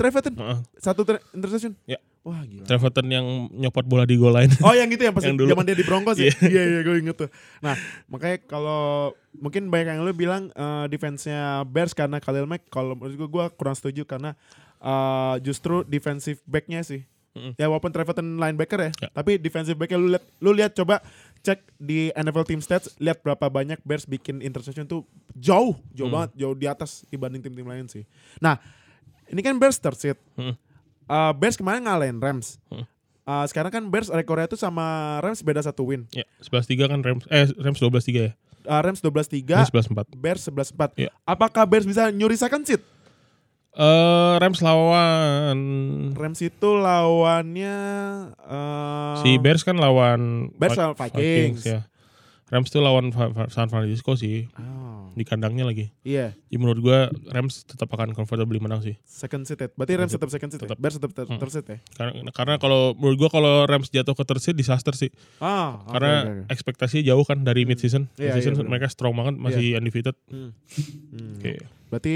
[SPEAKER 2] Trevathan
[SPEAKER 3] Heeh.
[SPEAKER 2] satu tre- interception.
[SPEAKER 3] Ya.
[SPEAKER 2] Wah, gila.
[SPEAKER 3] Treveton yang nyopot bola di goal line.
[SPEAKER 2] Oh yang itu yang pas
[SPEAKER 3] gitu. Yang dulu.
[SPEAKER 2] zaman dia di Broncos ya.
[SPEAKER 3] Iya.
[SPEAKER 2] Iya iya gue inget tuh. Nah makanya kalau mungkin banyak yang lu bilang eh, defense-nya Bears karena Khalil Mack. Kalau menurut gue gue kurang setuju karena eh, justru defensive back-nya sih.
[SPEAKER 3] Mm-mm.
[SPEAKER 2] Ya walaupun Trevathan linebacker ya,
[SPEAKER 3] Ya.
[SPEAKER 2] tapi defensive back-nya lu lihat lu lihat coba cek di NFL team stats lihat berapa banyak Bears bikin interception tuh jauh jauh
[SPEAKER 3] Hmm.
[SPEAKER 2] banget jauh di atas dibanding tim-tim lain sih. Nah ini kan Bears third seed.
[SPEAKER 3] Hmm.
[SPEAKER 2] Eh, Bears kemarin ngalahin Rams.
[SPEAKER 3] Hmm.
[SPEAKER 2] Eh, sekarang kan Bears rekornya itu sama Rams beda satu win.
[SPEAKER 3] *laughs* Ya, 11-3 kan Rams eh Rams 12-3 ya.
[SPEAKER 2] Eh, Rams 12-3,
[SPEAKER 3] Ini 11-4.
[SPEAKER 2] Bears 11-4.
[SPEAKER 3] Iya.
[SPEAKER 2] Apakah Bears bisa nyuri second seat?
[SPEAKER 3] Eh Rams lawan
[SPEAKER 2] Rams itu lawannya eh,
[SPEAKER 3] Si Bears kan lawan
[SPEAKER 2] Bears
[SPEAKER 3] Vi-
[SPEAKER 2] lawan Vikings.
[SPEAKER 3] ya. Rams tuh lawan Fa- Fa- San Francisco sih
[SPEAKER 2] Oh,
[SPEAKER 3] di kandangnya lagi.
[SPEAKER 2] iya,
[SPEAKER 3] Ya, menurut gua Rams tetap akan comfortably menang sih.
[SPEAKER 2] second seat. ya. Berarti Rams tetap second seat. ya?
[SPEAKER 3] Tetap.
[SPEAKER 2] Bears tetap ter-
[SPEAKER 3] Hmm.
[SPEAKER 2] third seat ya.
[SPEAKER 3] Karena karena kalau menurut gua kalau Rams jatuh ke third seed disaster sih.
[SPEAKER 2] Ah, oke,
[SPEAKER 3] karena
[SPEAKER 2] oke, oke.
[SPEAKER 3] ekspektasinya jauh kan dari mid season.
[SPEAKER 2] Iya,
[SPEAKER 3] mid season
[SPEAKER 2] iya, benar.
[SPEAKER 3] mereka strong banget masih undefeated.
[SPEAKER 2] Hmm. Hmm.
[SPEAKER 3] Oke.
[SPEAKER 2] Berarti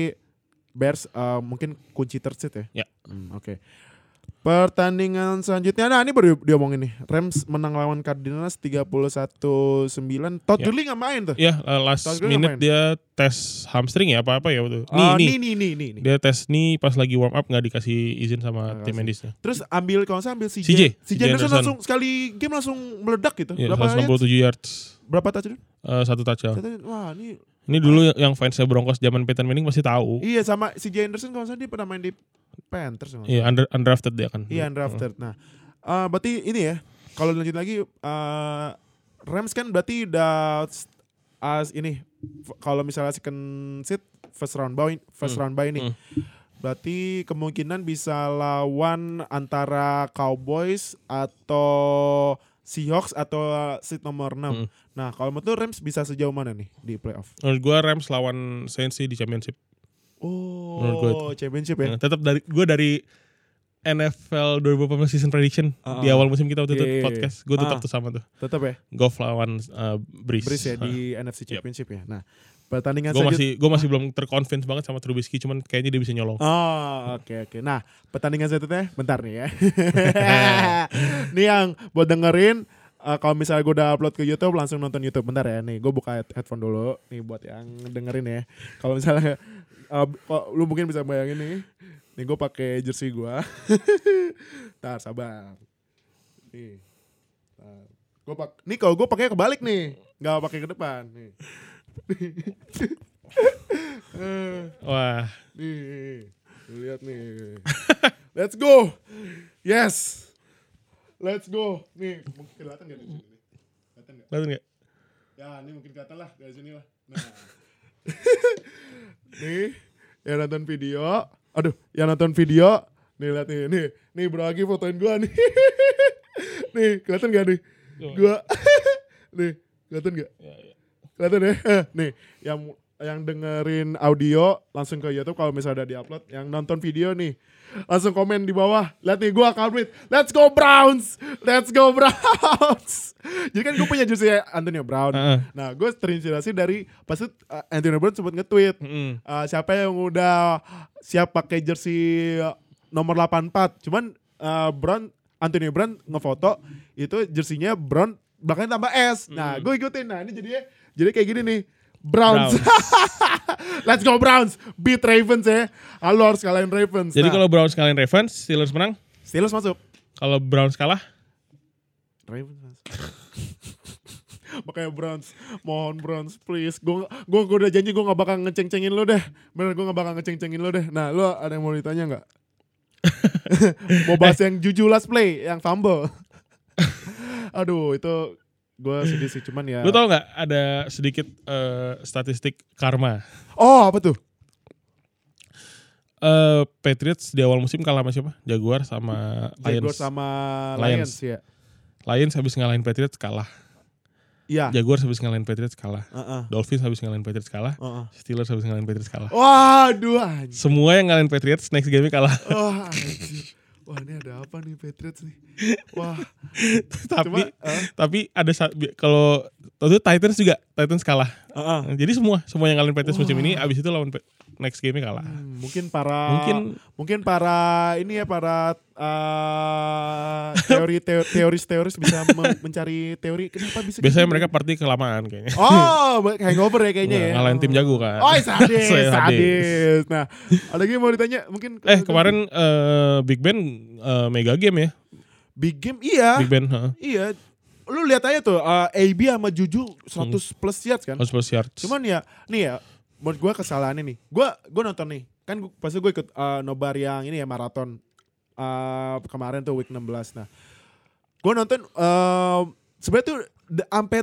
[SPEAKER 2] Bears eh, mungkin kunci third seat ya.
[SPEAKER 3] Ya.
[SPEAKER 2] Hmm, Oke. Pertandingan selanjutnya nah ini baru diomongin nih. Rams menang lawan Cardinals 31-9. Todd
[SPEAKER 3] Ya.
[SPEAKER 2] Gurley nggak main tuh.
[SPEAKER 3] Ya, uh, last
[SPEAKER 2] Soalnya
[SPEAKER 3] minute
[SPEAKER 2] main.
[SPEAKER 3] dia tes hamstring ya apa-apa ya waktu. Nih,
[SPEAKER 2] Ah, nih,
[SPEAKER 3] nih.
[SPEAKER 2] nih, nih, nih, nih.
[SPEAKER 3] Dia tes nih pas lagi warm up nggak dikasih izin sama
[SPEAKER 2] Nggak
[SPEAKER 3] tim
[SPEAKER 2] kasih.
[SPEAKER 3] medisnya.
[SPEAKER 2] Terus ambil kalau saya ambil CJ.
[SPEAKER 3] CJ,
[SPEAKER 2] CJ
[SPEAKER 3] CJ
[SPEAKER 2] Anderson
[SPEAKER 3] Anderson.
[SPEAKER 2] langsung sekali game langsung meledak gitu.
[SPEAKER 3] Ya,
[SPEAKER 2] berapa yards?
[SPEAKER 3] 167 yards.
[SPEAKER 2] Berapa touchdown?
[SPEAKER 3] Eh, satu touchdown.
[SPEAKER 2] Satu- Wah, ini
[SPEAKER 3] Ini dulu yang fansnya Broncos zaman Peyton Manning pasti tahu.
[SPEAKER 2] iya sama CJ Anderson kalau saya dia pernah main di Panthers. kalau nggak
[SPEAKER 3] Iya, under, undrafted dia kan.
[SPEAKER 2] Iya undrafted. Nah, eh berarti ini ya. Kalau lanjut lagi eh Rams kan berarti udah s- as ini f- kalau misalnya second seat first round bye first
[SPEAKER 3] Hmm.
[SPEAKER 2] round bye nih. Berarti kemungkinan bisa lawan antara Cowboys atau Seahawks atau seat nomor
[SPEAKER 3] Hmm.
[SPEAKER 2] 6. Nah, kalau menurut lu Rams bisa sejauh mana nih di playoff?
[SPEAKER 3] Menurut gue Rams lawan Saints sih di championship. Menurut gua
[SPEAKER 2] Oh, championship ya.
[SPEAKER 3] Nah, tetap dari gue dari NFL 2018 season prediction di awal musim kita waktu itu
[SPEAKER 2] Iya, iya, iya.
[SPEAKER 3] podcast, gue tetap
[SPEAKER 2] Ah.
[SPEAKER 3] tuh sama tuh.
[SPEAKER 2] Tetap ya.
[SPEAKER 3] Golf lawan uh, Breeze.
[SPEAKER 2] Breeze ya
[SPEAKER 3] *laughs*
[SPEAKER 2] di Ah. NFC Championship ya. Nah, pertandingan
[SPEAKER 3] Gue
[SPEAKER 2] selanjut-
[SPEAKER 3] masih gue masih belum terconvince banget sama Trubisky, cuman kayaknya dia bisa nyolong.
[SPEAKER 2] Oh, oke oke. Nah, pertandingan selanjutnya bentar nih ya. nih yang buat dengerin eh, kalau misalnya gue udah upload ke YouTube langsung nonton YouTube bentar ya. Nih, gue buka head- headphone dulu nih buat yang dengerin ya. Kalau misalnya eh, kok lu mungkin bisa bayangin nih. Nih gue pakai jersey *laughs* gue. Ntar sabar. Nih. Ntar. Gua pak nih kalau gue pakai kebalik nih. Gak pakai ke depan nih.
[SPEAKER 3] Wah,
[SPEAKER 2] Nih, lu lihat nih. Let's go. Yes. Let's go. Nih, mungkin kelihatan gak di sini? nih? Kelihatan gak?
[SPEAKER 3] lihat nggak?
[SPEAKER 2] Ya, ini mungkin kelihatan lah dari sini lah. Nah. nih, yang nonton video. Aduh, yang nonton video. Nih, lihat nih. Nih, nih bro lagi fotoin gua nih. *laughs* nih, kelihatan gak nih? Gua. *laughs* nih, kelihatan gak? Kelihatan ya? *laughs* Nih, yang yang dengerin audio langsung ke YouTube kalau misalnya udah diupload, yang nonton video nih langsung komen di bawah. Lihat nih gua Kalbrit. Let's go Browns. Let's go Browns. *laughs* Jadi kan gue punya jersey Antonio Brown.
[SPEAKER 3] Heeh.
[SPEAKER 2] Nah, gue terinspirasi dari pas itu uh, Antonio Brown sempat nge-tweet
[SPEAKER 3] Mm.
[SPEAKER 2] uh, siapa yang udah siap pakai jersey nomor 84. Cuman uh, Brown Antonio Brown ngefoto itu jersinya Brown belakangnya tambah S. Nah, gue ikutin. Nah, ini jadinya jadi kayak gini nih. Browns. *laughs* Let's go Browns. Beat Ravens ya. Halo harus kalahin Ravens. Nah,
[SPEAKER 3] Jadi kalau Browns kalahin Ravens, Steelers menang.
[SPEAKER 2] Steelers masuk.
[SPEAKER 3] Kalau Browns kalah,
[SPEAKER 2] Ravens masuk. *laughs* Makanya Browns, mohon Browns please. Gue gua, gua udah janji gue gak bakal ngeceng-cengin lo deh. Bener gue gak bakal ngeceng-cengin lo deh. Nah lo ada yang mau ditanya
[SPEAKER 3] *laughs*
[SPEAKER 2] gak? mau bahas
[SPEAKER 3] Eh.
[SPEAKER 2] yang jujur last play, yang fumble. *laughs* Aduh itu gue sedih sih cuman ya.
[SPEAKER 3] lu tau nggak ada sedikit eh, statistik karma.
[SPEAKER 2] Oh apa tuh?
[SPEAKER 3] Eh, Patriots di awal musim kalah sama siapa? Jaguar sama Lions.
[SPEAKER 2] Jaguar sama
[SPEAKER 3] Lions.
[SPEAKER 2] Lions, ya.
[SPEAKER 3] Lions habis ngalahin Patriots kalah.
[SPEAKER 2] Iya.
[SPEAKER 3] Jaguar habis ngalahin Patriots kalah.
[SPEAKER 2] Heeh.
[SPEAKER 3] Dolphins habis ngalahin Patriots kalah.
[SPEAKER 2] Heeh. Oh.
[SPEAKER 3] Steelers habis ngalahin Patriots kalah.
[SPEAKER 2] Waduh anjing.
[SPEAKER 3] Semua yang ngalahin Patriots next game kalah. *laughs*
[SPEAKER 2] Wah anjing. Wah ini ada apa nih Patriots nih? Wah.
[SPEAKER 3] tapi
[SPEAKER 2] eh,
[SPEAKER 3] tapi ada sa- bi- kalau waktu itu Titans juga Titans kalah.
[SPEAKER 2] heeh.
[SPEAKER 3] Jadi semua semua yang ngalahin Patriots musim ini abis itu lawan Pe- next game kalah.
[SPEAKER 2] Hmm, mungkin para mungkin
[SPEAKER 3] Mungkin-
[SPEAKER 2] para ini ya para eh, teori teo- teoris-teoris bisa me- mencari teori kenapa bisa kayak
[SPEAKER 3] Biasanya
[SPEAKER 2] gini?
[SPEAKER 3] mereka party kelamaan kayaknya.
[SPEAKER 2] Oh, ba- hangover ya kayaknya ya.
[SPEAKER 3] ngalahin tim jago kan.
[SPEAKER 2] Oh, sadis,
[SPEAKER 3] *laughs* Saya
[SPEAKER 2] sadis. Nah, ada lagi yang mau ditanya mungkin
[SPEAKER 3] Eh kemarin eh, Big Ben eh, mega game ya.
[SPEAKER 2] big game iya.
[SPEAKER 3] Big Ben heeh.
[SPEAKER 2] Iya. Lu lihat aja tuh eh, AB sama Juju
[SPEAKER 3] Hmm.
[SPEAKER 2] 100 plus yards kan.
[SPEAKER 3] 100 yards.
[SPEAKER 2] Cuman ya, nih ya, menurut gue kesalahannya nih. Gue gue nonton nih, kan gua, pasti gue ikut eh, nobar yang ini ya maraton eh, kemarin tuh week 16. Nah, gue nonton eh sebenarnya tuh d- sampai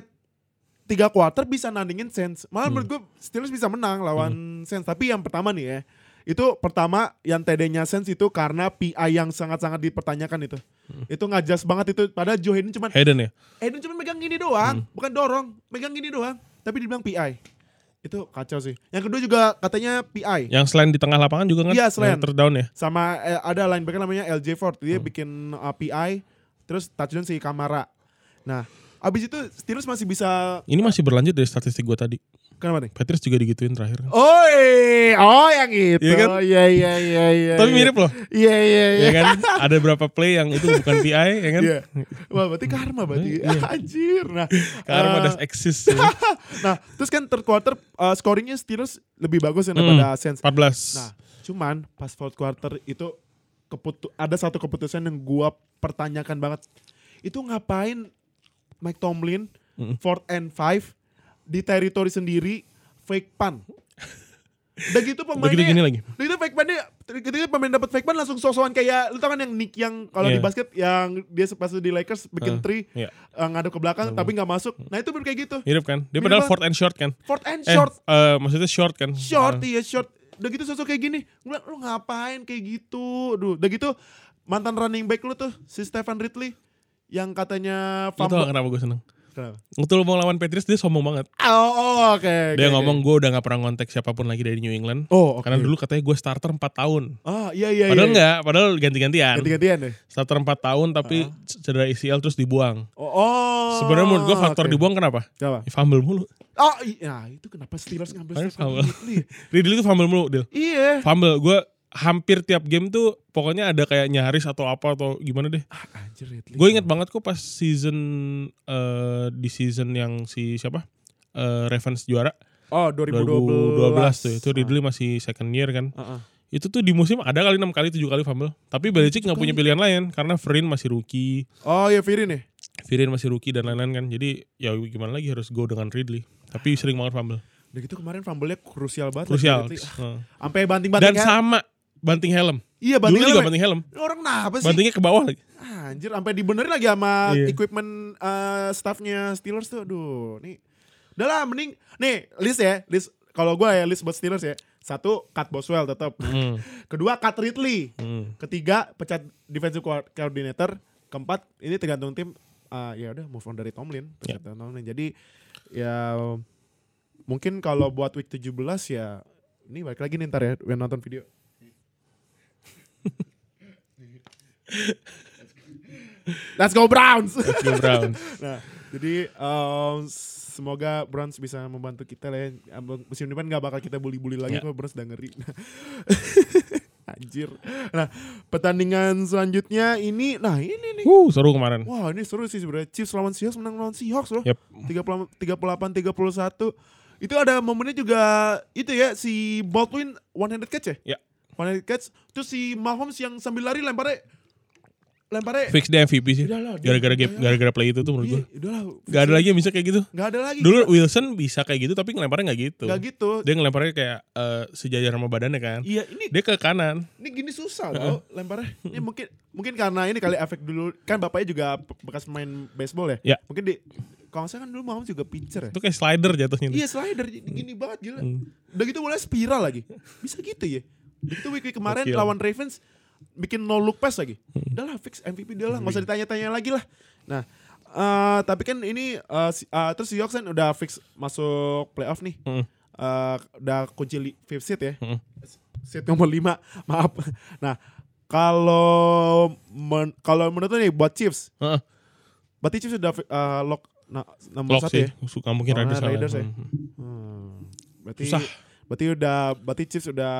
[SPEAKER 2] tiga quarter bisa nandingin Saints. Malah menurut gue Steelers bisa menang lawan Saints. Tapi yang pertama nih ya, itu pertama yang TD-nya Saints itu karena PI yang sangat-sangat dipertanyakan itu. Itu ngajas banget itu. Padahal Joe Hayden cuma
[SPEAKER 3] Hayden ya.
[SPEAKER 2] Eden Eh, cuma megang gini
[SPEAKER 3] Hmm.
[SPEAKER 2] doang, bukan dorong, megang gini doang, tapi dibilang PI. Itu kacau sih. Yang kedua juga katanya PI.
[SPEAKER 3] Yang selain di tengah lapangan juga kan?
[SPEAKER 2] Iya, selain.
[SPEAKER 3] Yang Third down ya.
[SPEAKER 2] Sama eh, ada linebacker namanya LJ Ford, dia
[SPEAKER 3] Hmm.
[SPEAKER 2] bikin uh, PI, terus touchdown si Kamara. Nah, abis itu Steelers masih bisa
[SPEAKER 3] Ini masih berlanjut dari statistik gue tadi.
[SPEAKER 2] kenapa nih?
[SPEAKER 3] Patriots juga digituin terakhir.
[SPEAKER 2] Oh,
[SPEAKER 3] kan.
[SPEAKER 2] Oi, oh yang itu.
[SPEAKER 3] Iya
[SPEAKER 2] Iya
[SPEAKER 3] kan?
[SPEAKER 2] iya iya iya.
[SPEAKER 3] Tapi
[SPEAKER 2] iya.
[SPEAKER 3] mirip loh.
[SPEAKER 2] Iya iya iya.
[SPEAKER 3] Ya kan? Ada berapa play yang itu bukan PI ya kan? Iya.
[SPEAKER 2] Iya. Wah, berarti karma berarti. *laughs* Anjir. Nah,
[SPEAKER 3] Karma
[SPEAKER 2] eh,
[SPEAKER 3] das exist. ya.
[SPEAKER 2] Nah, terus kan third quarter uh, scoringnya Steelers lebih bagus ya daripada
[SPEAKER 3] Hmm.
[SPEAKER 2] Saints.
[SPEAKER 3] 14.
[SPEAKER 2] Nah, cuman pas fourth quarter itu keputu ada satu keputusan yang gua pertanyakan banget. Itu ngapain Mike Tomlin fourth and five di teritori sendiri fake pan. Udah gitu
[SPEAKER 3] Udah gitu
[SPEAKER 2] pemainnya
[SPEAKER 3] gini lagi.
[SPEAKER 2] Udah gitu fake pannya ketika pemain dapat fake ban langsung sosokan kayak lu tau kan yang Nick yang kalau di
[SPEAKER 3] Iya.
[SPEAKER 2] basket yang dia pas di Lakers bikin
[SPEAKER 3] Ah,
[SPEAKER 2] three
[SPEAKER 3] iya.
[SPEAKER 2] eh, ngadep ke belakang tapi nggak masuk. Nah itu bener kayak gitu.
[SPEAKER 3] Mirip kan? Dia
[SPEAKER 2] Mirip
[SPEAKER 3] padahal
[SPEAKER 2] banget.
[SPEAKER 3] fourth and short kan?
[SPEAKER 2] Fourth and short,
[SPEAKER 3] Eh, eh, maksudnya short kan?
[SPEAKER 2] short
[SPEAKER 3] Eh,
[SPEAKER 2] iya short. Udah gitu sosok kayak gini, gue bilang lu ngapain kayak gitu? Aduh, udah gitu mantan running back lu tuh si Stefan Ridley yang katanya
[SPEAKER 3] lu tau
[SPEAKER 2] fumble.
[SPEAKER 3] kenapa gue seneng?
[SPEAKER 2] Kenapa?
[SPEAKER 3] Waktu lu mau lawan Patriots dia sombong banget.
[SPEAKER 2] Oh, oh, oke. oke, oke.
[SPEAKER 3] dia ngomong gue udah gak pernah ngontek siapapun lagi dari New England.
[SPEAKER 2] Oh, oke.
[SPEAKER 3] Karena dulu katanya gue starter 4 tahun.
[SPEAKER 2] Ah, iya iya. iya.
[SPEAKER 3] Padahal kan? enggak, padahal ganti-gantian.
[SPEAKER 2] Ganti-gantian deh.
[SPEAKER 3] Starter 4 tahun tapi cedera ACL terus dibuang.
[SPEAKER 2] Oh, Ah. oh.
[SPEAKER 3] Sebenarnya menurut gue faktor
[SPEAKER 2] oke.
[SPEAKER 3] dibuang kenapa?
[SPEAKER 2] Kenapa?
[SPEAKER 3] Ya, fumble mulu.
[SPEAKER 2] Oh, iya itu kenapa Steelers ngambil
[SPEAKER 3] Harus
[SPEAKER 2] Stefan
[SPEAKER 3] fumble.
[SPEAKER 2] Ridley? ya?
[SPEAKER 3] Ridley itu fumble mulu, Dil.
[SPEAKER 2] Iya.
[SPEAKER 3] Fumble, gue hampir tiap game tuh pokoknya ada kayak nyaris atau apa atau gimana deh.
[SPEAKER 2] Ah, anjir Ridley.
[SPEAKER 3] Gue inget banget kok pas season eh, di season yang si siapa? Eh, Ravens juara
[SPEAKER 2] Oh,
[SPEAKER 3] 2012
[SPEAKER 2] 2012.
[SPEAKER 3] tuh itu Ridley masih second year kan
[SPEAKER 2] Ah, ah.
[SPEAKER 3] itu tuh di musim ada kali enam kali tujuh kali fumble tapi Belichick nggak punya pilihan lain karena Verin masih rookie
[SPEAKER 2] Oh, iya Firin nih.
[SPEAKER 3] Viren masih rookie dan lain-lain kan jadi ya gimana lagi harus go dengan Ridley tapi sering banget fumble
[SPEAKER 2] Udah gitu kemarin fumble-nya krusial banget.
[SPEAKER 3] krusial
[SPEAKER 2] Ridley.
[SPEAKER 3] Heeh.
[SPEAKER 2] Sampai banting-banting.
[SPEAKER 3] dan sama banting helm
[SPEAKER 2] Iya,
[SPEAKER 3] dulu
[SPEAKER 2] banting.
[SPEAKER 3] juga
[SPEAKER 2] helm ya.
[SPEAKER 3] banting helm
[SPEAKER 2] Orang kenapa sih?
[SPEAKER 3] bantingnya ke bawah lagi
[SPEAKER 2] Anjir, sampai dibenerin lagi sama
[SPEAKER 3] Iya.
[SPEAKER 2] equipment eh, staffnya Steelers tuh. Aduh, nih. Udah lah, mending. Nih, list ya. List. Kalau gue ya, list buat Steelers ya. Satu, cut Boswell tetap.
[SPEAKER 3] Hmm,
[SPEAKER 2] *laughs* Kedua, cut Ridley.
[SPEAKER 3] hmm.
[SPEAKER 2] Ketiga, pecat defensive co- coordinator. Keempat, ini tergantung tim. Ah, ya udah, move on dari Tomlin. Pecat dari Tomlin. Jadi, ya mungkin kalau buat week 17 ya, ini balik lagi nih ntar ya, when nonton video. Let's go Browns!
[SPEAKER 3] *laughs* Let's go Browns.
[SPEAKER 2] Nah, jadi em, semoga Browns bisa membantu kita lah ya. Abang- Musim depan nggak bakal kita bully-bully lagi
[SPEAKER 3] Ya.
[SPEAKER 2] kok Browns udah ngeri. Anjir. Nah, pertandingan selanjutnya ini nah ini nih.
[SPEAKER 3] Wuh, seru kemarin
[SPEAKER 2] Wah, ini seru sih sebenarnya. Chiefs lawan Seahawks menang lawan Seahawks loh.
[SPEAKER 3] Yep.
[SPEAKER 2] 38 31. Itu ada momennya juga itu ya si Baldwin one handed catch ya?
[SPEAKER 3] Ya.
[SPEAKER 2] One handed catch. Terus si Mahomes yang sambil lari lemparnya lemparnya
[SPEAKER 3] fix dia MVP sih
[SPEAKER 2] Udah lah, dia-
[SPEAKER 3] gara-gara game-
[SPEAKER 2] udah lah.
[SPEAKER 3] gara-gara play itu tuh menurut gue
[SPEAKER 2] Iya, udahlah.
[SPEAKER 3] Gak ada lagi yang bisa kayak gitu
[SPEAKER 2] Gak ada lagi.
[SPEAKER 3] Dulu Wilson bisa kayak gitu tapi ngelemparnya gak gitu
[SPEAKER 2] Gak gitu.
[SPEAKER 3] Dia ngelemparnya kayak eh, sejajar sama badannya kan
[SPEAKER 2] Iya, ini
[SPEAKER 3] Dia ke kanan
[SPEAKER 2] ini gini susah tau lemparnya. Ini mungkin mungkin karena ini kali efek dulu kan bapaknya juga pe- bekas main baseball ya.
[SPEAKER 3] Iya.
[SPEAKER 2] Mungkin di kalau nggak salah kan dulu mama juga pitcher ya.
[SPEAKER 3] Itu kayak slider jatuhnya
[SPEAKER 2] Iya slider jadi gini banget gila.
[SPEAKER 3] Hmm.
[SPEAKER 2] Udah gitu mulai spiral lagi. Bisa gitu ya. Udah Gitu week, week kemarin
[SPEAKER 3] Gokil. Hmm.
[SPEAKER 2] lawan Ravens bikin no look pass lagi. Udah lah fix MVP dia lah nggak
[SPEAKER 3] Iya.
[SPEAKER 2] usah ditanya-tanya lagi lah. Nah eh, tapi kan ini eh, si- eh, terus Seahawks kan udah fix masuk playoff nih.
[SPEAKER 3] Mm.
[SPEAKER 2] Eh, udah kunci li- fifth seat ya.
[SPEAKER 3] Mm.
[SPEAKER 2] Seat nomor 5, *laughs* maaf. Nah, kalau men- kalau menurut lu nih buat Chiefs,
[SPEAKER 3] Heeh.
[SPEAKER 2] berarti Chiefs sudah eh, lock na- nomor
[SPEAKER 3] Lock
[SPEAKER 2] satu
[SPEAKER 3] sih
[SPEAKER 2] ya.
[SPEAKER 3] Suka mungkin
[SPEAKER 2] Oh,
[SPEAKER 3] Raiders, salah.
[SPEAKER 2] Raiders ya.
[SPEAKER 3] Hmm.
[SPEAKER 2] Hmm, berarti
[SPEAKER 3] Susah.
[SPEAKER 2] berarti udah berarti Chiefs udah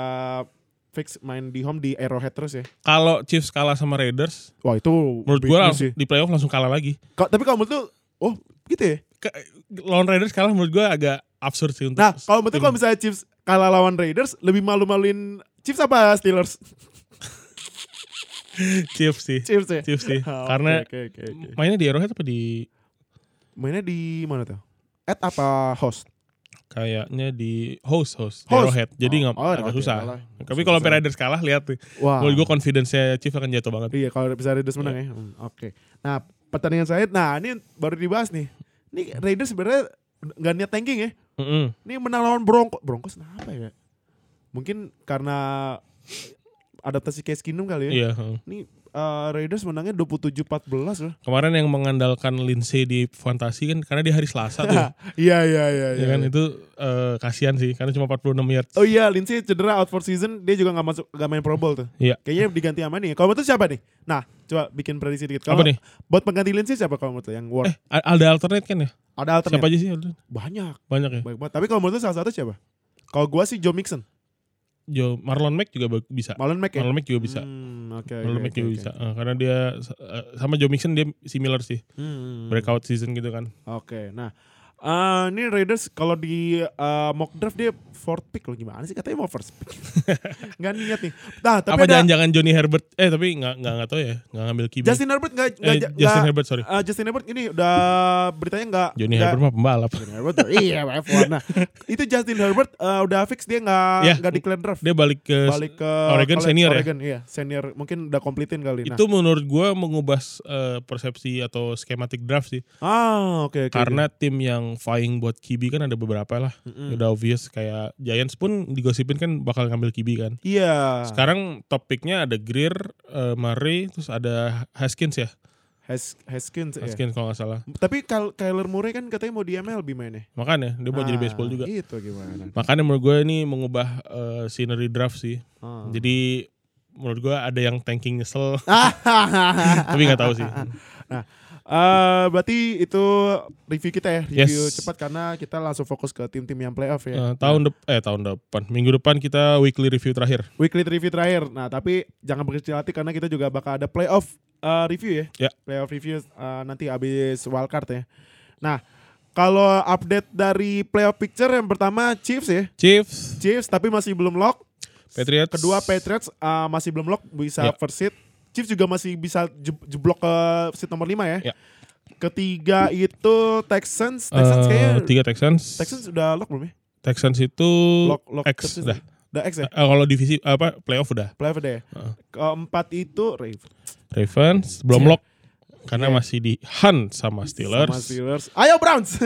[SPEAKER 2] fix main di home di Arrowhead terus ya.
[SPEAKER 3] Kalau Chiefs kalah sama Raiders
[SPEAKER 2] Wah, itu
[SPEAKER 3] Menurut
[SPEAKER 2] big
[SPEAKER 3] gue
[SPEAKER 2] news
[SPEAKER 3] langsung, di playoff langsung kalah lagi
[SPEAKER 2] Ka- tapi kalau menurut lu oh gitu ya.
[SPEAKER 3] Ke- Lawan Raiders kalah menurut gue agak absurd sih untuk
[SPEAKER 2] Nah, kalau menurut lu
[SPEAKER 3] tim.
[SPEAKER 2] kalau misalnya Chiefs kalah lawan Raiders lebih malu-maluin Chiefs apa Steelers? *laughs*
[SPEAKER 3] Chiefs sih
[SPEAKER 2] Chiefs ya.
[SPEAKER 3] Chiefs sih
[SPEAKER 2] Ah, *laughs* oke,
[SPEAKER 3] Karena
[SPEAKER 2] oke, oke, oke.
[SPEAKER 3] mainnya di Arrowhead apa di
[SPEAKER 2] mainnya di mana tuh? At apa host?
[SPEAKER 3] kayaknya di host host,
[SPEAKER 2] Host.
[SPEAKER 3] Arrowhead jadi nggak
[SPEAKER 2] Oh, oh,
[SPEAKER 3] agak
[SPEAKER 2] oke,
[SPEAKER 3] susah
[SPEAKER 2] kalah.
[SPEAKER 3] tapi
[SPEAKER 2] Susah.
[SPEAKER 3] kalau sampai Raiders kalah lihat tuh
[SPEAKER 2] Wah.
[SPEAKER 3] menurut gue confidence-nya Chiefs akan jatuh banget
[SPEAKER 2] Iya kalau bisa Raiders menang ya. Hmm, Oke. Nah pertandingan saya, nah ini baru dibahas nih. Ini Raiders sebenarnya nggak niat tanking ya.
[SPEAKER 3] Mm-mm.
[SPEAKER 2] Ini menang lawan Broncos. Broncos kenapa ya? Mungkin karena adaptasi Case Keenum kali ya.
[SPEAKER 3] Iya. heeh.
[SPEAKER 2] Ini eh, Raiders menangnya 27-14 loh.
[SPEAKER 3] Kemarin yang mengandalkan Lindsay di fantasi kan karena di hari Selasa tuh.
[SPEAKER 2] *laughs* Iya iya iya.
[SPEAKER 3] ya kan itu eh, kasihan sih karena cuma 46 yards.
[SPEAKER 2] Oh iya, Lindsay cedera out for season, dia juga nggak masuk nggak main Pro Bowl tuh.
[SPEAKER 3] Iya.
[SPEAKER 2] Kayaknya diganti sama nih. Kalau menurut lu siapa nih? Nah, coba bikin prediksi dikit. Kalau
[SPEAKER 3] Apa nih?
[SPEAKER 2] Buat pengganti Lindsay siapa kalau menurut lu yang worth?
[SPEAKER 3] Eh, a- ada alternate kan ya?
[SPEAKER 2] Ada
[SPEAKER 3] Siapa
[SPEAKER 2] alternate?
[SPEAKER 3] aja sih? alternate?
[SPEAKER 2] Banyak.
[SPEAKER 3] Banyak ya.
[SPEAKER 2] Baik banget. Tapi kalau menurut lu salah satu siapa? Kalau gua sih Joe Mixon,
[SPEAKER 3] Joe Marlon Mack juga ba- bisa.
[SPEAKER 2] Marlon Mack ya.
[SPEAKER 3] Marlon Mack juga bisa.
[SPEAKER 2] Hmm, oke. oke,
[SPEAKER 3] Marlon Mack
[SPEAKER 2] oke,
[SPEAKER 3] juga
[SPEAKER 2] oke.
[SPEAKER 3] bisa. Eh, karena dia eh, sama Joe Mixon dia similar sih.
[SPEAKER 2] Hmm,
[SPEAKER 3] Breakout season gitu kan.
[SPEAKER 2] Oke. Nah, Eh, ini Raiders kalau di eh, mock draft dia fourth pick loh gimana sih katanya mau first
[SPEAKER 3] *laughs*
[SPEAKER 2] pick. Enggak niat nih. Nah, tapi
[SPEAKER 3] apa
[SPEAKER 2] ada
[SPEAKER 3] jangan-jangan Johnny Herbert eh tapi nggak nggak nggak tahu ya nggak ngambil QB
[SPEAKER 2] Justin Herbert enggak
[SPEAKER 3] eh, Justin Herbert sorry
[SPEAKER 2] eh, Justin Herbert ini udah beritanya enggak
[SPEAKER 3] Johnny Herbert mah
[SPEAKER 2] *laughs*
[SPEAKER 3] pembalap
[SPEAKER 2] Justin Herbert tuh, iya
[SPEAKER 3] *laughs*
[SPEAKER 2] F1. Nah, itu Justin Herbert eh, udah fix dia nggak
[SPEAKER 3] Ya.
[SPEAKER 2] nggak declare draft.
[SPEAKER 3] dia balik ke
[SPEAKER 2] Balik ke
[SPEAKER 3] Oregon
[SPEAKER 2] college-
[SPEAKER 3] senior ya?
[SPEAKER 2] Oregon, iya, senior. Mungkin udah komplitin kali nah.
[SPEAKER 3] itu menurut gua mengubah eh, persepsi atau skematik draft sih
[SPEAKER 2] Ah, oke oke.
[SPEAKER 3] karena tim yang vying buat QB kan ada beberapa lah
[SPEAKER 2] oke. Mm-mm.
[SPEAKER 3] udah obvious kayak Giants pun digosipin kan bakal ngambil QB kan
[SPEAKER 2] Iya.
[SPEAKER 3] sekarang topiknya ada Greer, eh, Murray, terus ada Haskins ya,
[SPEAKER 2] Has- Haskins, ya.
[SPEAKER 3] Haskins kalau nggak salah.
[SPEAKER 2] Tapi Kyl- Kyler Murray kan katanya mau di MLB mainnya.
[SPEAKER 3] Makanya dia mau jadi
[SPEAKER 2] Ah,
[SPEAKER 3] baseball juga.
[SPEAKER 2] Itu gimana?
[SPEAKER 3] Makanya menurut gue ini mengubah eh, scenery draft sih.
[SPEAKER 2] Ah.
[SPEAKER 3] Jadi menurut gue ada yang tanking
[SPEAKER 2] *laughs*
[SPEAKER 3] nyesel, tapi
[SPEAKER 2] Tapi
[SPEAKER 3] nggak
[SPEAKER 2] *laughs*
[SPEAKER 3] tahu sih.
[SPEAKER 2] Eh, berarti itu review kita ya, review
[SPEAKER 3] Yes.
[SPEAKER 2] cepat karena kita langsung fokus ke tim-tim yang playoff ya.
[SPEAKER 3] Eh, tahun dep- eh tahun depan, minggu depan kita weekly review terakhir.
[SPEAKER 2] Weekly review terakhir. Nah, tapi jangan berkecil hati karena kita juga bakal ada playoff uh, review ya.
[SPEAKER 3] Ya.
[SPEAKER 2] Playoff review uh, nanti habis wildcard ya. Nah, kalau update dari playoff picture yang pertama Chiefs ya.
[SPEAKER 3] Chiefs,
[SPEAKER 2] Chiefs tapi masih belum lock.
[SPEAKER 3] Patriots.
[SPEAKER 2] Kedua Patriots uh, masih belum lock bisa
[SPEAKER 3] Ya.
[SPEAKER 2] first seed. Chiefs juga masih bisa je- jeblok ke seat nomor 5 ya.
[SPEAKER 3] Ya.
[SPEAKER 2] Ketiga itu Texans.
[SPEAKER 3] eh,
[SPEAKER 2] Texans kayaknya
[SPEAKER 3] tiga Texans.
[SPEAKER 2] Texans udah lock belum ya?
[SPEAKER 3] Texans itu
[SPEAKER 2] Lock lock
[SPEAKER 3] X
[SPEAKER 2] Texans
[SPEAKER 3] udah.
[SPEAKER 2] Udah X ya.
[SPEAKER 3] Eh, kalau divisi apa playoff udah.
[SPEAKER 2] Playoff udah ya.
[SPEAKER 3] Heeh.
[SPEAKER 2] Keempat itu Ravens.
[SPEAKER 3] Ravens belum
[SPEAKER 2] Ya.
[SPEAKER 3] lock karena
[SPEAKER 2] Ya.
[SPEAKER 3] masih di Hunt sama Steelers.
[SPEAKER 2] Sama Steelers. Ayo Browns. *laughs*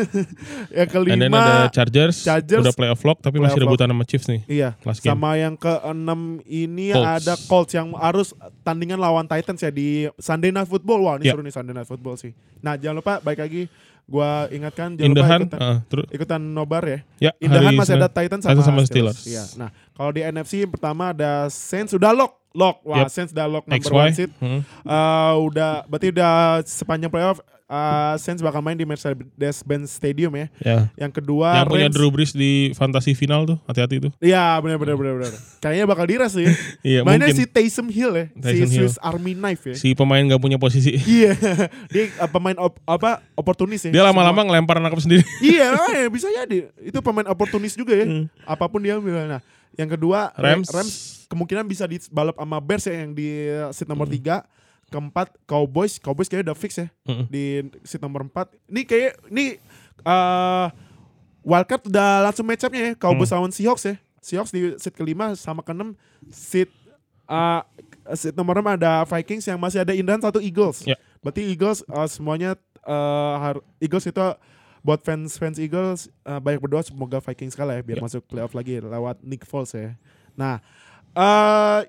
[SPEAKER 2] yang
[SPEAKER 3] And then
[SPEAKER 2] kelima.
[SPEAKER 3] ada Chargers,
[SPEAKER 2] Chargers.
[SPEAKER 3] udah playoff lock tapi masih
[SPEAKER 2] Playoff
[SPEAKER 3] rebutan sama Chiefs nih
[SPEAKER 2] Iya.
[SPEAKER 3] last game.
[SPEAKER 2] Sama yang keenam ini
[SPEAKER 3] Colts.
[SPEAKER 2] ada Colts yang harus tandingan lawan Titans ya di Sunday Night Football. Wah, ini
[SPEAKER 3] Ya.
[SPEAKER 2] seru nih Sunday Night Football sih. Nah, jangan lupa baik lagi gua ingatkan jangan
[SPEAKER 3] In the
[SPEAKER 2] lupa
[SPEAKER 3] Hunt,
[SPEAKER 2] ikutan,
[SPEAKER 3] eh, terus
[SPEAKER 2] ikutan nobar ya.
[SPEAKER 3] ya
[SPEAKER 2] Indahan
[SPEAKER 3] hari
[SPEAKER 2] masih
[SPEAKER 3] Senin.
[SPEAKER 2] ada Titans sama,
[SPEAKER 3] Titans sama Steelers.
[SPEAKER 2] Iya. Nah, kalau di NFC yang pertama ada Saints udah lock, lock. Wah,
[SPEAKER 3] Yep. Hmm.
[SPEAKER 2] Saints udah lock number
[SPEAKER 3] XY.
[SPEAKER 2] one seed.
[SPEAKER 3] Heeh.
[SPEAKER 2] Eh, udah berarti udah sepanjang playoff eh, Saints bakal main di Mercedes-Benz Stadium ya.
[SPEAKER 3] Ya.
[SPEAKER 2] Yang kedua
[SPEAKER 3] Yang punya
[SPEAKER 2] Rams-
[SPEAKER 3] Drew Brees di fantasi final tuh, hati-hati tuh.
[SPEAKER 2] Iya, benar benar benar benar. Kayaknya bakal diras sih. ya.
[SPEAKER 3] *laughs* Iya,
[SPEAKER 2] Mainnya si
[SPEAKER 3] mungkin si,
[SPEAKER 2] Taysom Hill ya,
[SPEAKER 3] Taysom
[SPEAKER 2] si
[SPEAKER 3] Hill.
[SPEAKER 2] Swiss Army Knife ya.
[SPEAKER 3] pemain gak punya posisi.
[SPEAKER 2] Iya, *laughs* dia eh, pemain op- apa oportunis ya.
[SPEAKER 3] *laughs* Dia lama-lama ngelempar nangkap sendiri. *laughs*
[SPEAKER 2] Semua- Iya, makanya bisa jadi. Itu pemain oportunis juga ya. Apapun dia ambil. Nah, yang kedua
[SPEAKER 3] Rams.
[SPEAKER 2] kemungkinan bisa dibalap sama Bears ya, yang di seat nomor 3 keempat Cowboys Cowboys kayaknya udah fix ya
[SPEAKER 3] Heeh.
[SPEAKER 2] di seat nomor 4 ini kayak ini eh wildcard udah langsung match up-nya ya Cowboys lawan Seahawks ya Seahawks di seat kelima sama keenam seat eh seat nomor 6 ada Vikings yang masih ada Indran satu Eagles
[SPEAKER 3] Ya.
[SPEAKER 2] berarti Eagles eh, semuanya eh, har- Eagles itu buat fans fans Eagles eh, banyak berdoa semoga Vikings kalah ya biar
[SPEAKER 3] Ya.
[SPEAKER 2] masuk playoff lagi lewat Nick Foles ya nah eh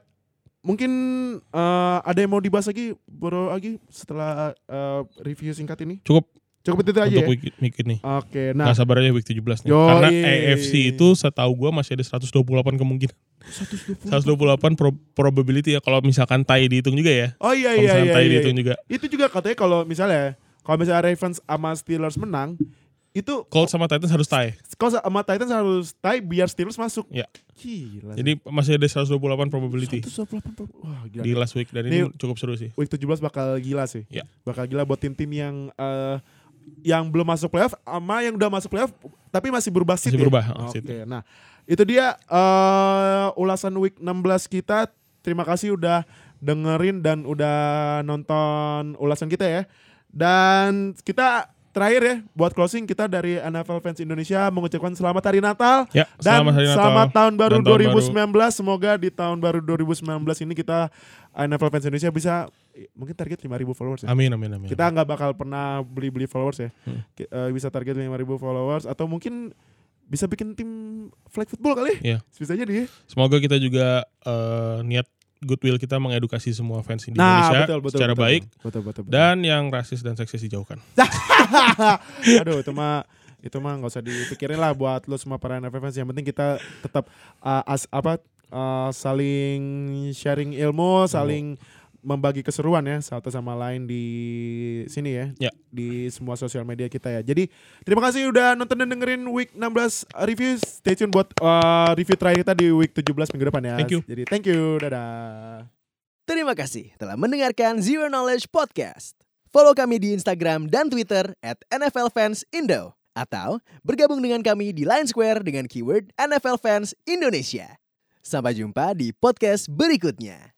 [SPEAKER 2] mungkin eh, ada yang mau dibahas lagi bro lagi setelah eh, review singkat ini
[SPEAKER 3] Cukup
[SPEAKER 2] cukup itu aja
[SPEAKER 3] untuk
[SPEAKER 2] ya?
[SPEAKER 3] week, week ini.
[SPEAKER 2] oke nah
[SPEAKER 3] Nah, sabar aja week 17 nih.
[SPEAKER 2] Yoi.
[SPEAKER 3] Karena AFC itu setahu gua masih ada 128 kemungkinan. 128 pro- probability ya kalau misalkan tie dihitung juga ya.
[SPEAKER 2] oh iya
[SPEAKER 3] Kalau
[SPEAKER 2] iya
[SPEAKER 3] misalkan
[SPEAKER 2] iya,
[SPEAKER 3] tie
[SPEAKER 2] iya,
[SPEAKER 3] dihitung
[SPEAKER 2] iya.
[SPEAKER 3] juga.
[SPEAKER 2] itu juga katanya kalau misalnya kalau misalnya Ravens sama Steelers menang itu
[SPEAKER 3] Colts sama Titans harus tie.
[SPEAKER 2] kalau sama Titans harus tie biar Steelers masuk
[SPEAKER 3] Ya.
[SPEAKER 2] gila
[SPEAKER 3] Jadi masih ada 128 probability
[SPEAKER 2] 128 per- wah gila
[SPEAKER 3] di last week dan ini cukup seru sih.
[SPEAKER 2] week 17 bakal gila sih.
[SPEAKER 3] Ya.
[SPEAKER 2] Bakal gila buat tim-tim yang eh, yang belum masuk playoff sama yang udah masuk playoff tapi masih berubah seat
[SPEAKER 3] Masih
[SPEAKER 2] ya?
[SPEAKER 3] berubah, oh,
[SPEAKER 2] Oke.
[SPEAKER 3] seat.
[SPEAKER 2] Nah, itu dia eh, ulasan week 16 kita. Terima kasih udah dengerin dan udah nonton ulasan kita ya. Dan kita terakhir ya buat closing kita dari NFL Fans Indonesia mengucapkan selamat hari Natal.
[SPEAKER 3] Ya,
[SPEAKER 2] Dan
[SPEAKER 3] selamat hari Natal.
[SPEAKER 2] selamat tahun baru
[SPEAKER 3] Dan tahun baru.
[SPEAKER 2] 2019. Semoga di tahun baru 2019 ini kita NFL fans Indonesia bisa eh, mungkin target 5000 followers ya.
[SPEAKER 3] Amin Hmm. amin amin.
[SPEAKER 2] Kita nggak bakal pernah beli-beli followers ya. Ki- eh, bisa target 5000 followers atau mungkin bisa bikin tim flag football kali.
[SPEAKER 3] Iya.
[SPEAKER 2] Bisa jadi. ya.
[SPEAKER 3] Semoga kita juga eh, niat goodwill kita mengedukasi semua fans di
[SPEAKER 2] Nah,
[SPEAKER 3] Indonesia
[SPEAKER 2] betul, betul,
[SPEAKER 3] secara
[SPEAKER 2] betul,
[SPEAKER 3] baik
[SPEAKER 2] Betul, betul, betul.
[SPEAKER 3] dan yang rasis dan seksis dijauhkan.
[SPEAKER 2] Aduh, itu mah itu mah nggak usah dipikirin lah buat lo semua para NFL fans. Yang penting kita tetap uh, as apa uh, saling sharing ilmu, saling membagi keseruan ya satu sama lain di sini ya,
[SPEAKER 3] Ya.
[SPEAKER 2] di semua sosial media kita ya. Jadi terima kasih udah nonton dan dengerin week 16 review. Stay tune buat uh, review terakhir kita di week 17 minggu depan ya.
[SPEAKER 3] Thank you.
[SPEAKER 2] Jadi thank you. Dadah.
[SPEAKER 1] Terima kasih telah mendengarkan Zero Knowledge Podcast. Follow kami di Instagram dan Twitter at NFL Fans Indo. Atau bergabung dengan kami di Line Square dengan keyword NFL Fans Indonesia. Sampai jumpa di podcast berikutnya.